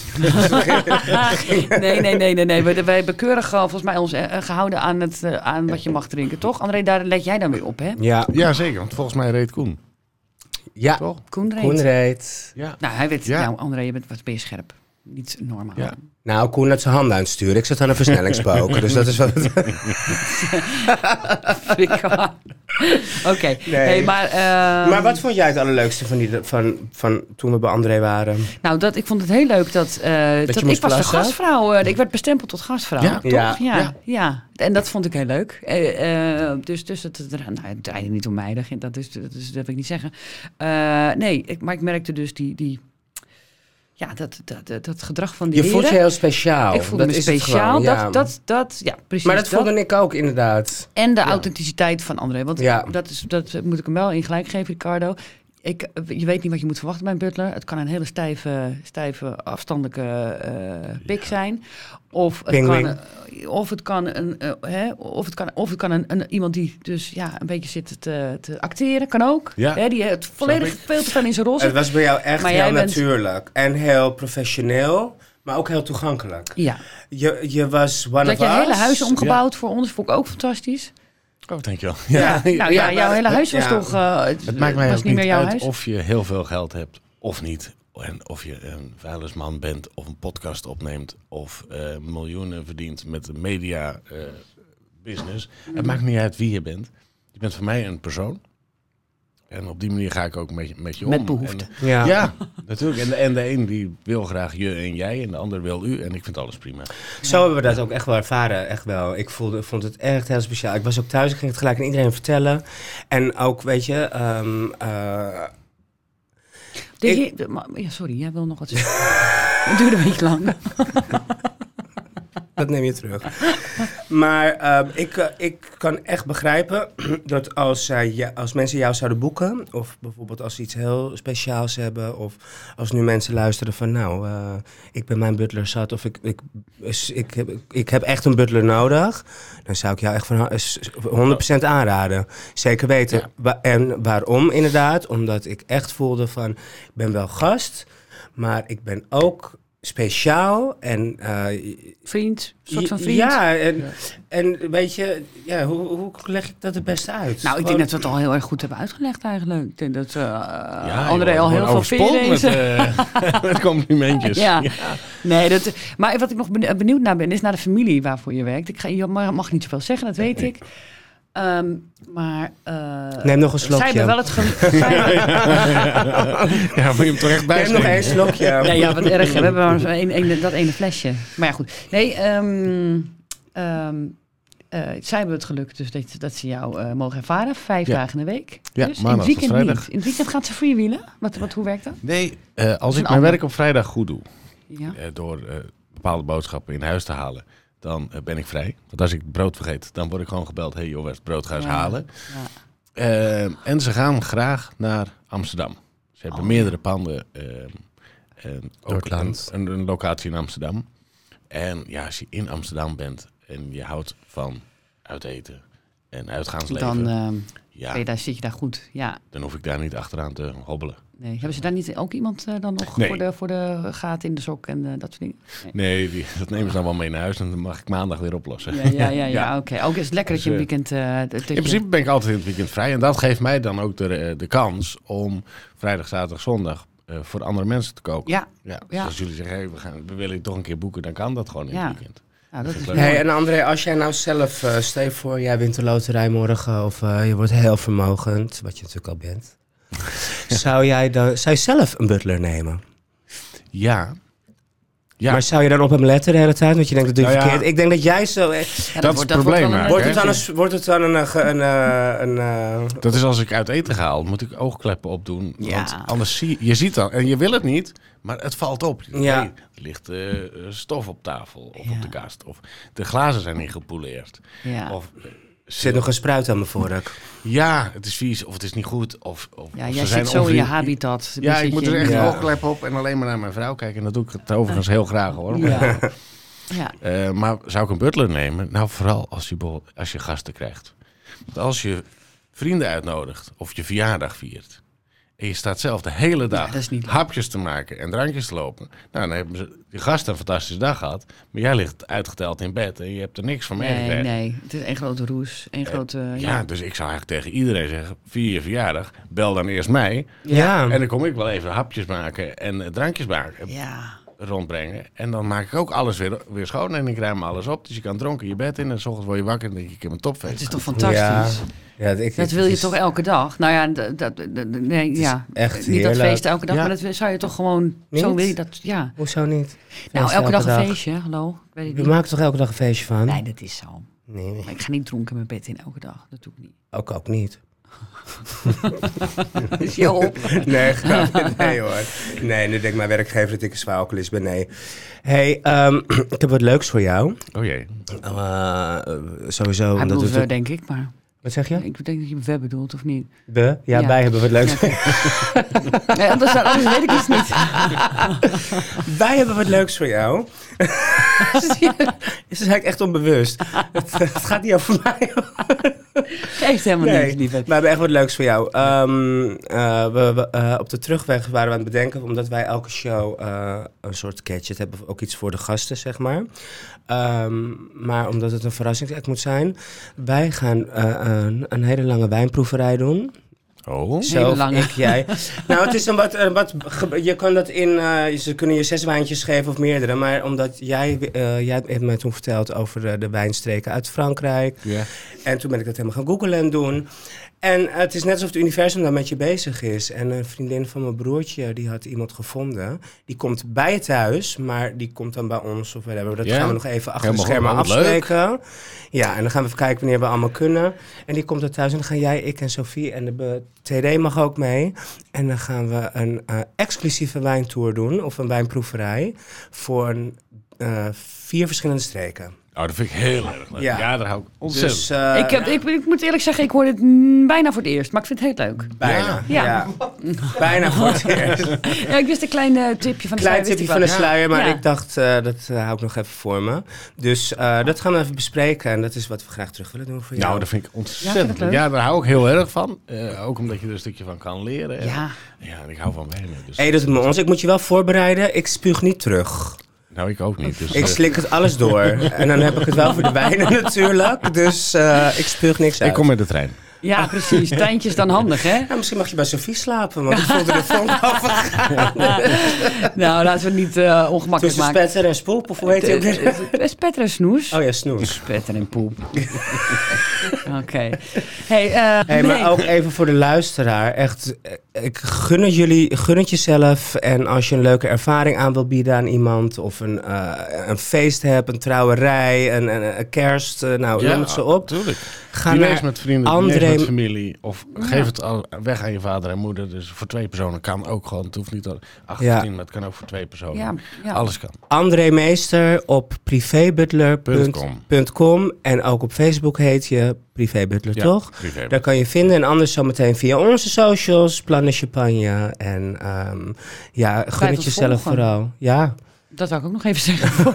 nee, nee, nee, nee, nee. Wij, wij hebben keurig eh, volgens mij ons eh, gehouden aan, het, eh, aan wat je mag drinken, toch? André, daar let jij dan weer op, hè? Ja, Ja, zeker, want volgens mij reed Koen, ja. toch? Koen reed. Koen reed. Ja. Nou, hij weet, Ja. nou André, je bent wat ben je scherp. Niet normaal. Ja. Nou, Koen had zijn handen aan het sturen. Ik zat aan een *laughs* versnellingspoker, dus dat is wat het Vind ik waar. *laughs* Oké. Hey, maar, ehm, Maar wat vond jij het allerleukste van, die, van, van toen we bij André waren? Nou, dat, ik vond het heel leuk dat, eh, dat, je ik was moest de plassen? gastvrouw. eh, ik werd bestempeld tot gastvrouw. Ja. toch? Ja. Ja. Ja. En dat vond ik heel leuk. Eh, eh, dus, dus het, het- nou, het draaide niet om mij, dat, ging- dat, is, dat, is, dat wil ik niet zeggen. Eh, nee, ik, maar ik merkte dus die, die, ja, dat, dat, dat, dat gedrag van die Je voelt je heren. heel speciaal. ik voelde dat me is het speciaal. gewoon, ja. dat, dat, dat, ja, precies. maar dat, dat. voelde ik ook inderdaad. En de authenticiteit van André. Want Ja. dat, is, dat moet ik hem wel in gelijk geven, Ricardo. Ik, je weet niet wat je moet verwachten bij een butler. Het kan een hele stijve, stijve afstandelijke eh, pik zijn. Of het Pingwing. kan, eh, of het kan, een, eh, hè, of het kan, of het kan een, een, iemand die dus ja, een beetje zit te, te acteren. Kan ook. Ja. Hè, die het volledig ik. veel te veel in zijn rol Het zit. was bij jou echt Maar heel jij bent- natuurlijk. En heel professioneel, maar ook heel toegankelijk. Ja. Je, je was one Dat of je us. hele huis *laughs* omgebouwd voor ons vond ik ook fantastisch. Oh, dankjewel. Ja. nou ja, maar jouw het- hele huis was ja. toch... eh, Het maakt mij was ook niet, meer jouw uit huis. of je heel veel geld hebt of niet. En of je een vuilnisman bent of een podcast opneemt of eh, miljoenen verdient met de media eh, business. Het maakt niet uit wie je bent. Je bent voor mij een persoon. En op die manier ga ik ook met je, met je om. Met behoefte. En- Ja. ja, *laughs* natuurlijk. En de, en de een die wil graag je en jij en de ander wil u. En ik vind alles prima. Zo hebben we dat ook echt wel ervaren, echt wel. Ik voelde, vond het echt heel speciaal. Ik was ook thuis, ik ging het gelijk aan iedereen vertellen. En ook, weet je, ehm, eh, De Ik- heer- de- maar- ja, sorry, jij wil nog wat zeggen. Het duurde een beetje lang. Dat neem je terug. *laughs* Maar ehm, ik, eh, ik kan echt begrijpen *clears throat* dat als, zij ja, als mensen jou zouden boeken, of bijvoorbeeld als ze iets heel speciaals hebben, of als nu mensen luisteren van nou, eh, ik ben mijn butler zat, of ik, ik, is- ik, heb, ik heb echt een butler nodig, dan zou ik jou echt van ha- is- is 100% aanraden. Zeker weten. Ja. Wa- en waarom inderdaad? Omdat ik echt voelde van, ik ben wel gast, maar ik ben ook speciaal en eh, Vriend, soort van vriend. ja, en, en weet je, ja, hoe, hoe leg ik dat het beste uit? Nou, ik Gewoon- denk dat we het al heel erg goed hebben uitgelegd eigenlijk. Ik denk dat eh Ja, André joh, al ik heel word veel overspoeld veren met, eh, *laughs* met complimentjes. Ja. Nee, dat, maar wat ik nog benieu- benieuwd naar ben, is naar de familie waarvoor je werkt. Ik ga, je mag mag niet zoveel zeggen, dat weet ik. Ehm, maar eh, Neem nog een zij slokje. hebben wel het geluk. zij hebben- *laughs* Ja, moet je hem terecht bij Neem nog één slokje. *laughs* Nee, ja, wat erg. hè. We hebben maar zo'n één- één- dat ene flesje. Maar ja, goed. Nee, ehm, ehm, eh, zij hebben het geluk dus dat, dat ze jou eh, mogen ervaren. Vijf Ja. dagen in de week. Ja, dus maandag in tot het weekend vrijdag. niet. In het weekend gaat ze freewheelen. Wat, wat, hoe werkt dat? Nee, eh, als een ik mijn ander. werk op vrijdag goed doe, Ja. eh, door eh, bepaalde boodschappen in huis te halen, dan eh, ben ik vrij. Want als ik brood vergeet, dan word ik gewoon gebeld. Hé hey, joh, waar is het brood? Ga eens Ja, halen. ja. Eh, en ze gaan graag naar Amsterdam. Ze hebben Oh, meerdere panden. ehm, en Door het ook een, land. een, een locatie in Amsterdam. En ja, als je in Amsterdam bent en je houdt van uiteten en uitgaansleven. Dan, ehm, Ja, Nee, daar zit je daar goed. Ja, dan hoef ik daar niet achteraan te hobbelen. nee. Hebben ze daar niet ook iemand eh, dan nog Nee. voor, de, voor de gaten in de sok en eh, dat soort dingen? Nee, die, *laughs* dat nemen ze dan wel mee naar huis en dan mag ik maandag weer oplossen. Ja, ja, ja, ja, *laughs* Ja. oké. Ook is het lekker dat je een Dus, weekend... eh, dat- dat je- In principe ben ik altijd in het weekend vrij. En dat geeft mij dan ook de, eh, de kans om vrijdag, zaterdag, zondag eh, voor andere mensen te koken. Ja, Dus Ja. als jullie zeggen, hey, we, gaan, we willen toch een keer boeken, dan kan dat gewoon in Ja. het weekend. nou, dat is Hey, mooi. Hey, en André, als jij nou zelf, eh stel je voor, jij wint de loterij morgen of eh, je wordt heel vermogend, wat je natuurlijk al *laughs* bent. zou jij dan, zou je zelf een butler nemen? Ja. Ja, Maar zou je dan op hem letten de hele tijd? Want je denkt, dat doe je Nou ja. verkeerd. Ik denk dat jij zo... Ja, eh, dat is wordt- het probleem wordt wel een eigenlijk, wordt, leuk het dan weekend. een, wordt het dan een... eh, ge- een, eh, een, eh, dat is als ik uit eten ga, dan moet ik oogkleppen opdoen. Ja. Want anders zie je, je ziet dan, en je wil het niet, maar het valt op. Je denkt, Ja. hey, er ligt eh, eh, stof op tafel of Ja. op de kast. Of de glazen zijn niet gepoleerd. Ja. Of eh, er zit nog een spruit aan mijn vork. ja, het is vies of het is niet goed. Of, of, Ja, of jij ze zijn zit zo in je onvriendelijk. habitat. Dan Ja, zit ik moet je er in- echt Ja. een oogklep op en alleen maar naar mijn vrouw kijken. En dat doe ik het overigens heel graag hoor. *laughs* Ja. ja. Eh, maar zou ik een butler nemen? Nou, vooral als je, bol- als je gasten krijgt. Want als je vrienden uitnodigt of je verjaardag viert. En je staat zelf de hele dag dat is niet leuk. hapjes te maken en drankjes te lopen. Nou, dan hebben ze, die gasten een fantastische dag gehad. Maar jij ligt uitgeteld in bed en je hebt er niks van Nee, meegekregen. nee. Het is één grote roes. Één grote... Ja, dus ik zou eigenlijk tegen iedereen zeggen: vier je verjaardag, bel dan eerst mij. Ja. En dan kom ik wel even hapjes maken en eh, drankjes maken Ja. rondbrengen. En dan maak ik ook alles weer, weer schoon en ik ruim alles op. Dus je kan dronken je bed in en 's ochtends word je wakker en denk je, ik heb een Het topfeest. is toch Ja. fantastisch? Ja, ik- Dat ik- wil je dus- toch elke dag? Nou ja, dat, dat, dat- nee, ja. echt Niet dat heerlijk. feest elke dag, Ja. maar dat wil- zou je toch gewoon... Zo Niet? wil je dat, ja. Hoezo niet? Nou, Feest elke dag een feestje, hallo. Ik weet het We niet. maken toch elke dag een feestje van? Nee, dat is zo. Nee, nee. Maar ik ga niet dronken mijn bed in elke dag. Dat doe ik niet. Ook, ook *laughs* niet. Dus joh, Oh, op. *laughs* Nee, grapje. nee hoor. Nee, nu denkt mijn werkgever dat ik een zwaar alcoholist ben. Nee. hey, ehm, *clears throat* ik heb wat leuks voor jou. Oh jee. Eh, sowieso. Hij omdat bedoelt we- we, denk ik, maar Wat zeg je? ik denk dat je we bedoelt, of niet? We? Ja, Ja. wij hebben wat *laughs* leuks. Nee, anders, anders weet ik het niet. *laughs* wij hebben wat leuks voor jou. Zie je? Dat is dus eigenlijk echt *laughs* onbewust. het, het gaat niet over mij. Geeft helemaal niks, Nee, lieve. we hebben echt wat leuks voor jou. Ehm, eh, we, we, eh, op de terugweg waren we aan het bedenken, omdat wij elke show eh, een soort gadget hebben, ook iets voor de gasten, zeg maar. Ehm, maar omdat het een verrassingsact moet zijn, wij gaan eh, een, een hele lange wijnproeverij doen. Oh. Hele lange. ik, jij. nou, het is een wat, een wat ge- je kan dat in, eh, ze kunnen je zes wijntjes geven of meerdere, maar omdat jij, eh, jij hebt mij toen verteld over eh, de wijnstreken uit Frankrijk. Ja. En toen ben ik dat helemaal gaan googlen en doen. En eh, het is net alsof het universum daar met je bezig is. En een vriendin van mijn broertje, die had iemand gevonden. Die komt bij het huis, maar die komt dan bij ons of whatever. Dat Ja? gaan we nog even achter de schermen Helemaal goed, wat leuk. afspreken. Ja, en dan gaan we even kijken wanneer we allemaal kunnen. En die komt er thuis en dan gaan jij, ik en Sophie en de be- TD mag ook mee. En dan gaan we een eh, exclusieve wijntour doen, of een wijnproeverij, voor een, eh, vier verschillende streken. Oh, dat vind ik heel erg leuk. Ja. Ja, daar hou ik ontzettend. Dus, eh, ik, heb, ik, ik moet eerlijk zeggen, ik hoor dit mm, bijna voor het eerst, maar ik vind het heel leuk. Bijna. Ja. Ja. *laughs* Bijna voor *laughs* het eerst. Ja, ik wist een klein eh, tipje van de sluier, Klein wist tipje ik van wel. de sluier, maar Ja. ik dacht, eh, dat eh, hou ik nog even voor me. Dus eh, dat gaan we even bespreken en dat is wat we graag terug willen doen voor jou. Nou, dat vind ik Ja, vind ontzettend ik leuk. leuk. Ja, daar hou ik heel erg van. Eh, ook omdat je er een stukje van kan leren. En- Ja. Ja, en ik hou van wijnen. Dus. Hey, dat doet me ons. Ik moet je wel voorbereiden. Ik spuug niet terug. Nou, ik ook niet. Dus, Ik eh, slik het alles *laughs* door. En dan heb ik het wel voor de wijnen *laughs* natuurlijk. Dus eh, ik spuug niks uit. ik kom met de trein. ja, precies. Tijntje is dan handig, hè? Nou, misschien mag je bij Sophie *laughs* slapen, want ik voelde de vonk overgaan. Nou, laten we het niet eh, ongemakkelijk Tussen maken. spetter en spoep, of hoe heet Het- eh, het? het- het is Petter en snoes. Oh ja, snoes. Petter en poep. *laughs* Oké. Hey, eh, nee. Hey, Maar ook even voor de luisteraar. Echt, eh, ik gun het jullie, gun het jezelf. En als je een leuke ervaring aan wil bieden aan iemand. Of een, eh, een feest hebt, een trouwerij, een, een, een kerst. eh, nou, Ja, noem het zo op. Tuurlijk. Ga Diners naar met vrienden, André... André- met familie. Of geef het al weg aan je vader en moeder. Dus voor twee personen kan ook gewoon. Het hoeft niet al 18, Ja. maar het kan ook voor twee personen. Ja, ja. Alles kan. André Meester op Com. privébutler.com. En ook op Facebook heet je Privébutler, Ja, toch? privé. Daar kan je vinden. En anders zometeen via onze socials, Plannen Champagne. En ehm, ja, gun Blijf het ons jezelf volgen. vooral. Ja. *laughs* Dat zou ik ook nog even zeggen.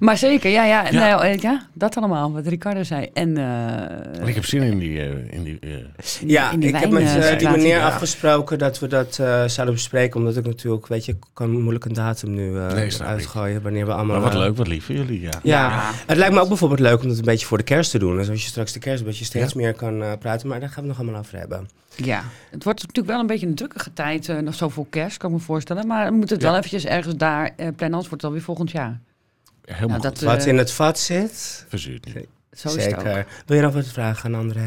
Maar zeker, ja, ja, Ja. nou, eh, ja, dat allemaal, wat Ricardo zei. En eh, Want ik heb zin in die... eh, in die eh, in- Ja, in die ik heb met wijn, eh, eh, die situatie. meneer Ja. afgesproken dat we dat eh, zouden bespreken. Omdat ik natuurlijk, weet je, ik kan moeilijk een datum nu eh, Nee, snap ik. uitgooien. Wanneer we allemaal... maar wat eh, leuk, wat lief van jullie, ja. Ja. Ja. het lijkt me ook bijvoorbeeld leuk om dat een beetje voor de kerst te doen. Dus als je straks de kerst, dat je steeds Ja. meer kan eh, praten. Maar daar gaan we nog allemaal over hebben. Ja, het wordt natuurlijk wel een beetje een drukkige tijd, eh, nog zo voor kerst, kan ik me voorstellen. Maar we moeten het wel eventjes ergens daar eh, plannen, anders wordt het alweer volgend jaar. Helemaal Nou, dat goed. eh, Wat in het vat zit. Verzuurd niet. zo is het ook. Zeker. Wil je nog wat vragen aan André?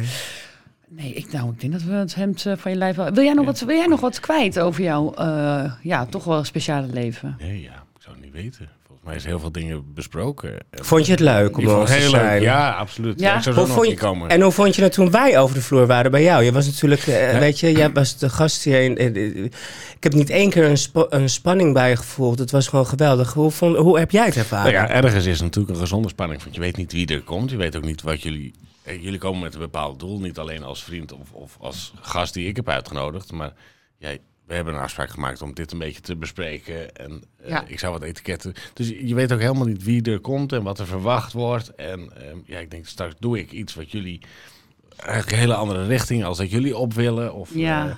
Nee, ik, nou, ik denk dat we het hemd eh, van je lijf... wel- Wil jij nog, wat, wil jij nog wat kwijt over jouw, eh, ja, toch wel speciale leven? Nee, ja, ik zou het niet weten. Volgens mij is heel veel dingen besproken. En- Vond je het leuk om Ik vond het ons te heel zijn? leuk. Ja, absoluut. Ja? Ik zou Hoe zo nog vond een je, keer komen. En hoe vond je het toen wij over de vloer waren bij jou? Je was natuurlijk, eh, Ja. weet je, jij was de gast hier. In, in- in- ik heb niet één keer een, spa- een spanning bij je gevoeld. Het was gewoon geweldig. Hoe, vond, hoe heb jij het Ah, ervaren? Nou ja, ergens is het natuurlijk een gezonde spanning. Want je weet niet wie er komt. Je weet ook niet wat jullie. eh, Jullie komen met een bepaald doel. Niet alleen als vriend of, of als gast die ik heb uitgenodigd. Maar jij, we hebben een afspraak gemaakt om dit een beetje te bespreken. En eh, Ja. ik zou wat etiketten. Dus je je weet ook helemaal niet wie er komt en wat er verwacht wordt. En ehm, ja, ik denk straks doe ik iets wat jullie. Eigenlijk een hele andere richting als dat jullie op willen. Of, Ja. eh, maar het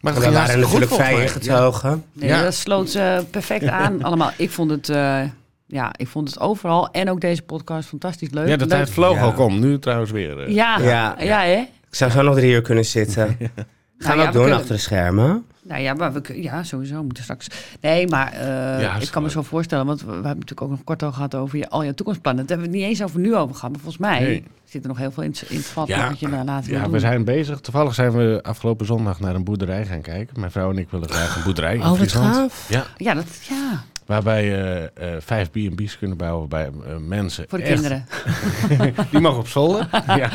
We ging waren hartstikke goed natuurlijk volgens vrij mij. Ja. ingetogen. Nee, Ja. dat sloot eh, perfect aan allemaal. Ik vond het... eh, ja, ik vond het overal en ook deze podcast fantastisch leuk. Ja, de Leuk- tijd vloog Ja. ook om. Nu trouwens weer. eh. Ja, ja, Ja. hè? Ik zou zo nog drie uur kunnen zitten. Gaan Nou we ja, ook doen kunnen- achter de schermen? Nou ja, maar we, kun- ja, sowieso we moeten straks. Nee, maar eh, ik hartstikke kan me leuk. zo voorstellen, want we, we hebben natuurlijk ook nog kort al gehad over je, al je toekomstplannen. Daar hebben we het niet eens over nu over gehad, maar volgens mij Nee. zit er nog heel veel in, het- in het vat Ja, wat je daar later wil Ja, we doen. zijn bezig. Toevallig zijn we afgelopen zondag naar een boerderij gaan kijken. Mijn vrouw en ik willen graag een boerderij Oh, in Friesland. Ja, Ja, dat, ja, waarbij eh, eh, vijf B&B's kunnen bouwen bij eh, mensen. voor de echt- kinderen. Die mag op *laughs* zolder. ja.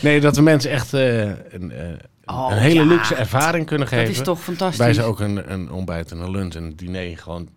Nee, dat we mensen echt eh, een, eh, Oh, een hele ja. luxe ervaring kunnen Dat geven. is toch fantastisch. Waarbij ze ook een, een ontbijt en een lunch en een diner gewoon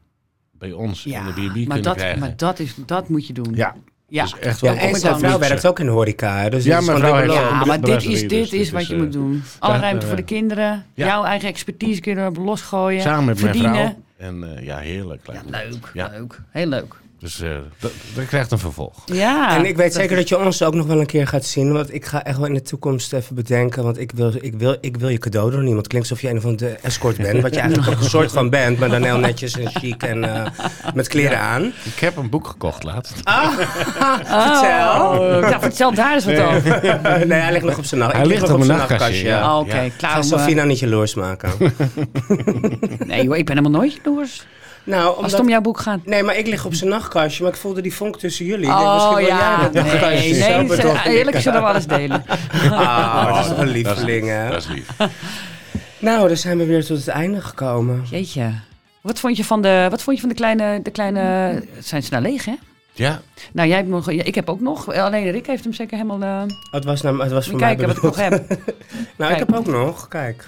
bij ons in de B&B maar kunnen dat, krijgen. maar dat, is, dat moet je doen. ja, ja. dus echt wel Ja, en kom ik zijn dan. vrouw luxe. werkt ook in de horeca. hè, Dus Ja, het is mijn gewoon vrouw dubbel heeft- op. Ja, een maar dit brasserie, is, dus dit dit is is, wat je eh, moet doen. Alle daar, ruimte eh, voor de kinderen. ja. Jouw eigen expertise kun je erop losgooien. samen met verdienen. mijn vrouw. En eh, ja, heerlijk. lijkt me. Ja, leuk, Ja. leuk. Heel leuk. Dus eh, dat, dat krijgt een vervolg. Ja. En ik weet Ah, dat- zeker dat je ons ook nog wel een keer gaat zien. Want ik ga echt wel in de toekomst even bedenken. Want ik wil, ik wil, ik wil je cadeau doen. Iemand klinkt alsof je een van de escort *laughs* bent. Wat je eigenlijk ook een soort van bent. Maar dan heel netjes en chic en eh, met kleren aan. Ik heb een boek gekocht laatst. Ah. Oh, ja, vertel daar eens wat over. Eh, nee, hij ligt nog op zijn nacht. Hij ik lig ligt nog op mijn zijn nachtkastje, ja. Oh, Oké, Ja. klaar. Ga om, eh, Sofie nou niet jaloers *laughs* maken. nee, joh, ik ben helemaal nooit jaloers. nou, omdat... Als het om jouw boek gaat. Nee, maar ik lig op zijn nachtkastje. Maar ik voelde die vonk tussen jullie. Ik denk, Oh misschien wil jij ja, dat *laughs* nee, nachtkastje. nee, Zo ze- bedoel ik. eerlijk zullen we alles delen. Ah, dat is toch een Dat is- lieveling, hè? Dat is lief. Nou, dan zijn we weer tot het einde gekomen. Jeetje. Wat vond je van de, wat vond je van de kleine, de kleine... Zijn ze nou leeg, hè? Ja, Nou, jij hebt nog, ja, ik heb ook nog. Alleen Rick heeft hem zeker helemaal... eh, Het was, nou, het was moet voor mij kijken wat ik nog bedoeld. heb. *laughs* Nou, Kijk. ik heb ook *laughs* nog. Kijk.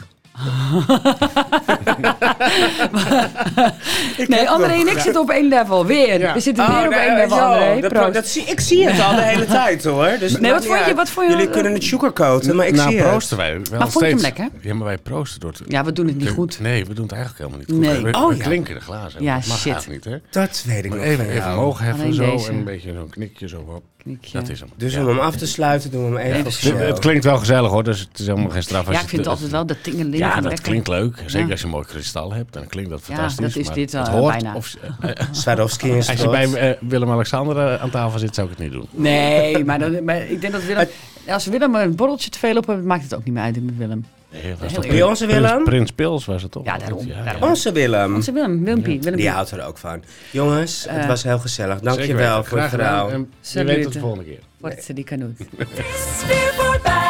Nee, André en ik zitten op één level. Weer. We zitten Oh, weer op één level, André. eh, dat, Proost. dat zie, ik zie het al de *laughs* hele tijd hoor. Dus het Nee, wat maakt niet vond je- uit. wat vond je- Hm, Jullie kunnen het sugarcoaten, maar ik nou, zie het. proosten wij wel Maar vond je hem steeds. lekker? Ja, maar wij proosten door het... Ja, we doen het niet goed. Nee, we doen het eigenlijk helemaal niet goed. Nee. We, Oh, we ja. klinken de glazen. Ja, dat mag shit. eigenlijk niet, hè? Dat weet ik Maar nog even, van even jou. omhoog heffen Alleen zo deze. en een beetje zo'n knikje zo op. Knikje. Dat is hem. Dus Ja. om hem af te sluiten doen we hem even Even op eh, zo. Het, het klinkt wel gezellig hoor, dus het is helemaal geen straf. als Ja, je ik vind het altijd wel dat tingeling. Ja, en dat lekker. klinkt leuk. Zeker Ja. als je een mooi kristal hebt, dan klinkt dat Ja, fantastisch. dat is maar dit, eh, het hoort bijna. Of, eh, Swarovski en als je bij eh, Willem-Alexander eh, aan tafel zit, zou ik het niet doen. Nee, maar, dan, maar ik denk dat Willem... Als Willem een borreltje te veel op heeft, maakt het ook niet meer uit met Willem. Nee, was Heel toch eerlijk. Bij onze Prins- Willem? Prins Pils was het toch? Ja, daarom, daarom. Onze Willem. Onze Willem, Willempie. Willempie. Die houdt er ook van. Jongens, het Eh, was heel gezellig. Zeker weten. Dankjewel voor het Graag gedaan. verhaal. En Je Salute. weet het de volgende keer. Wordt ze die kanoot. Het is weer voorbij.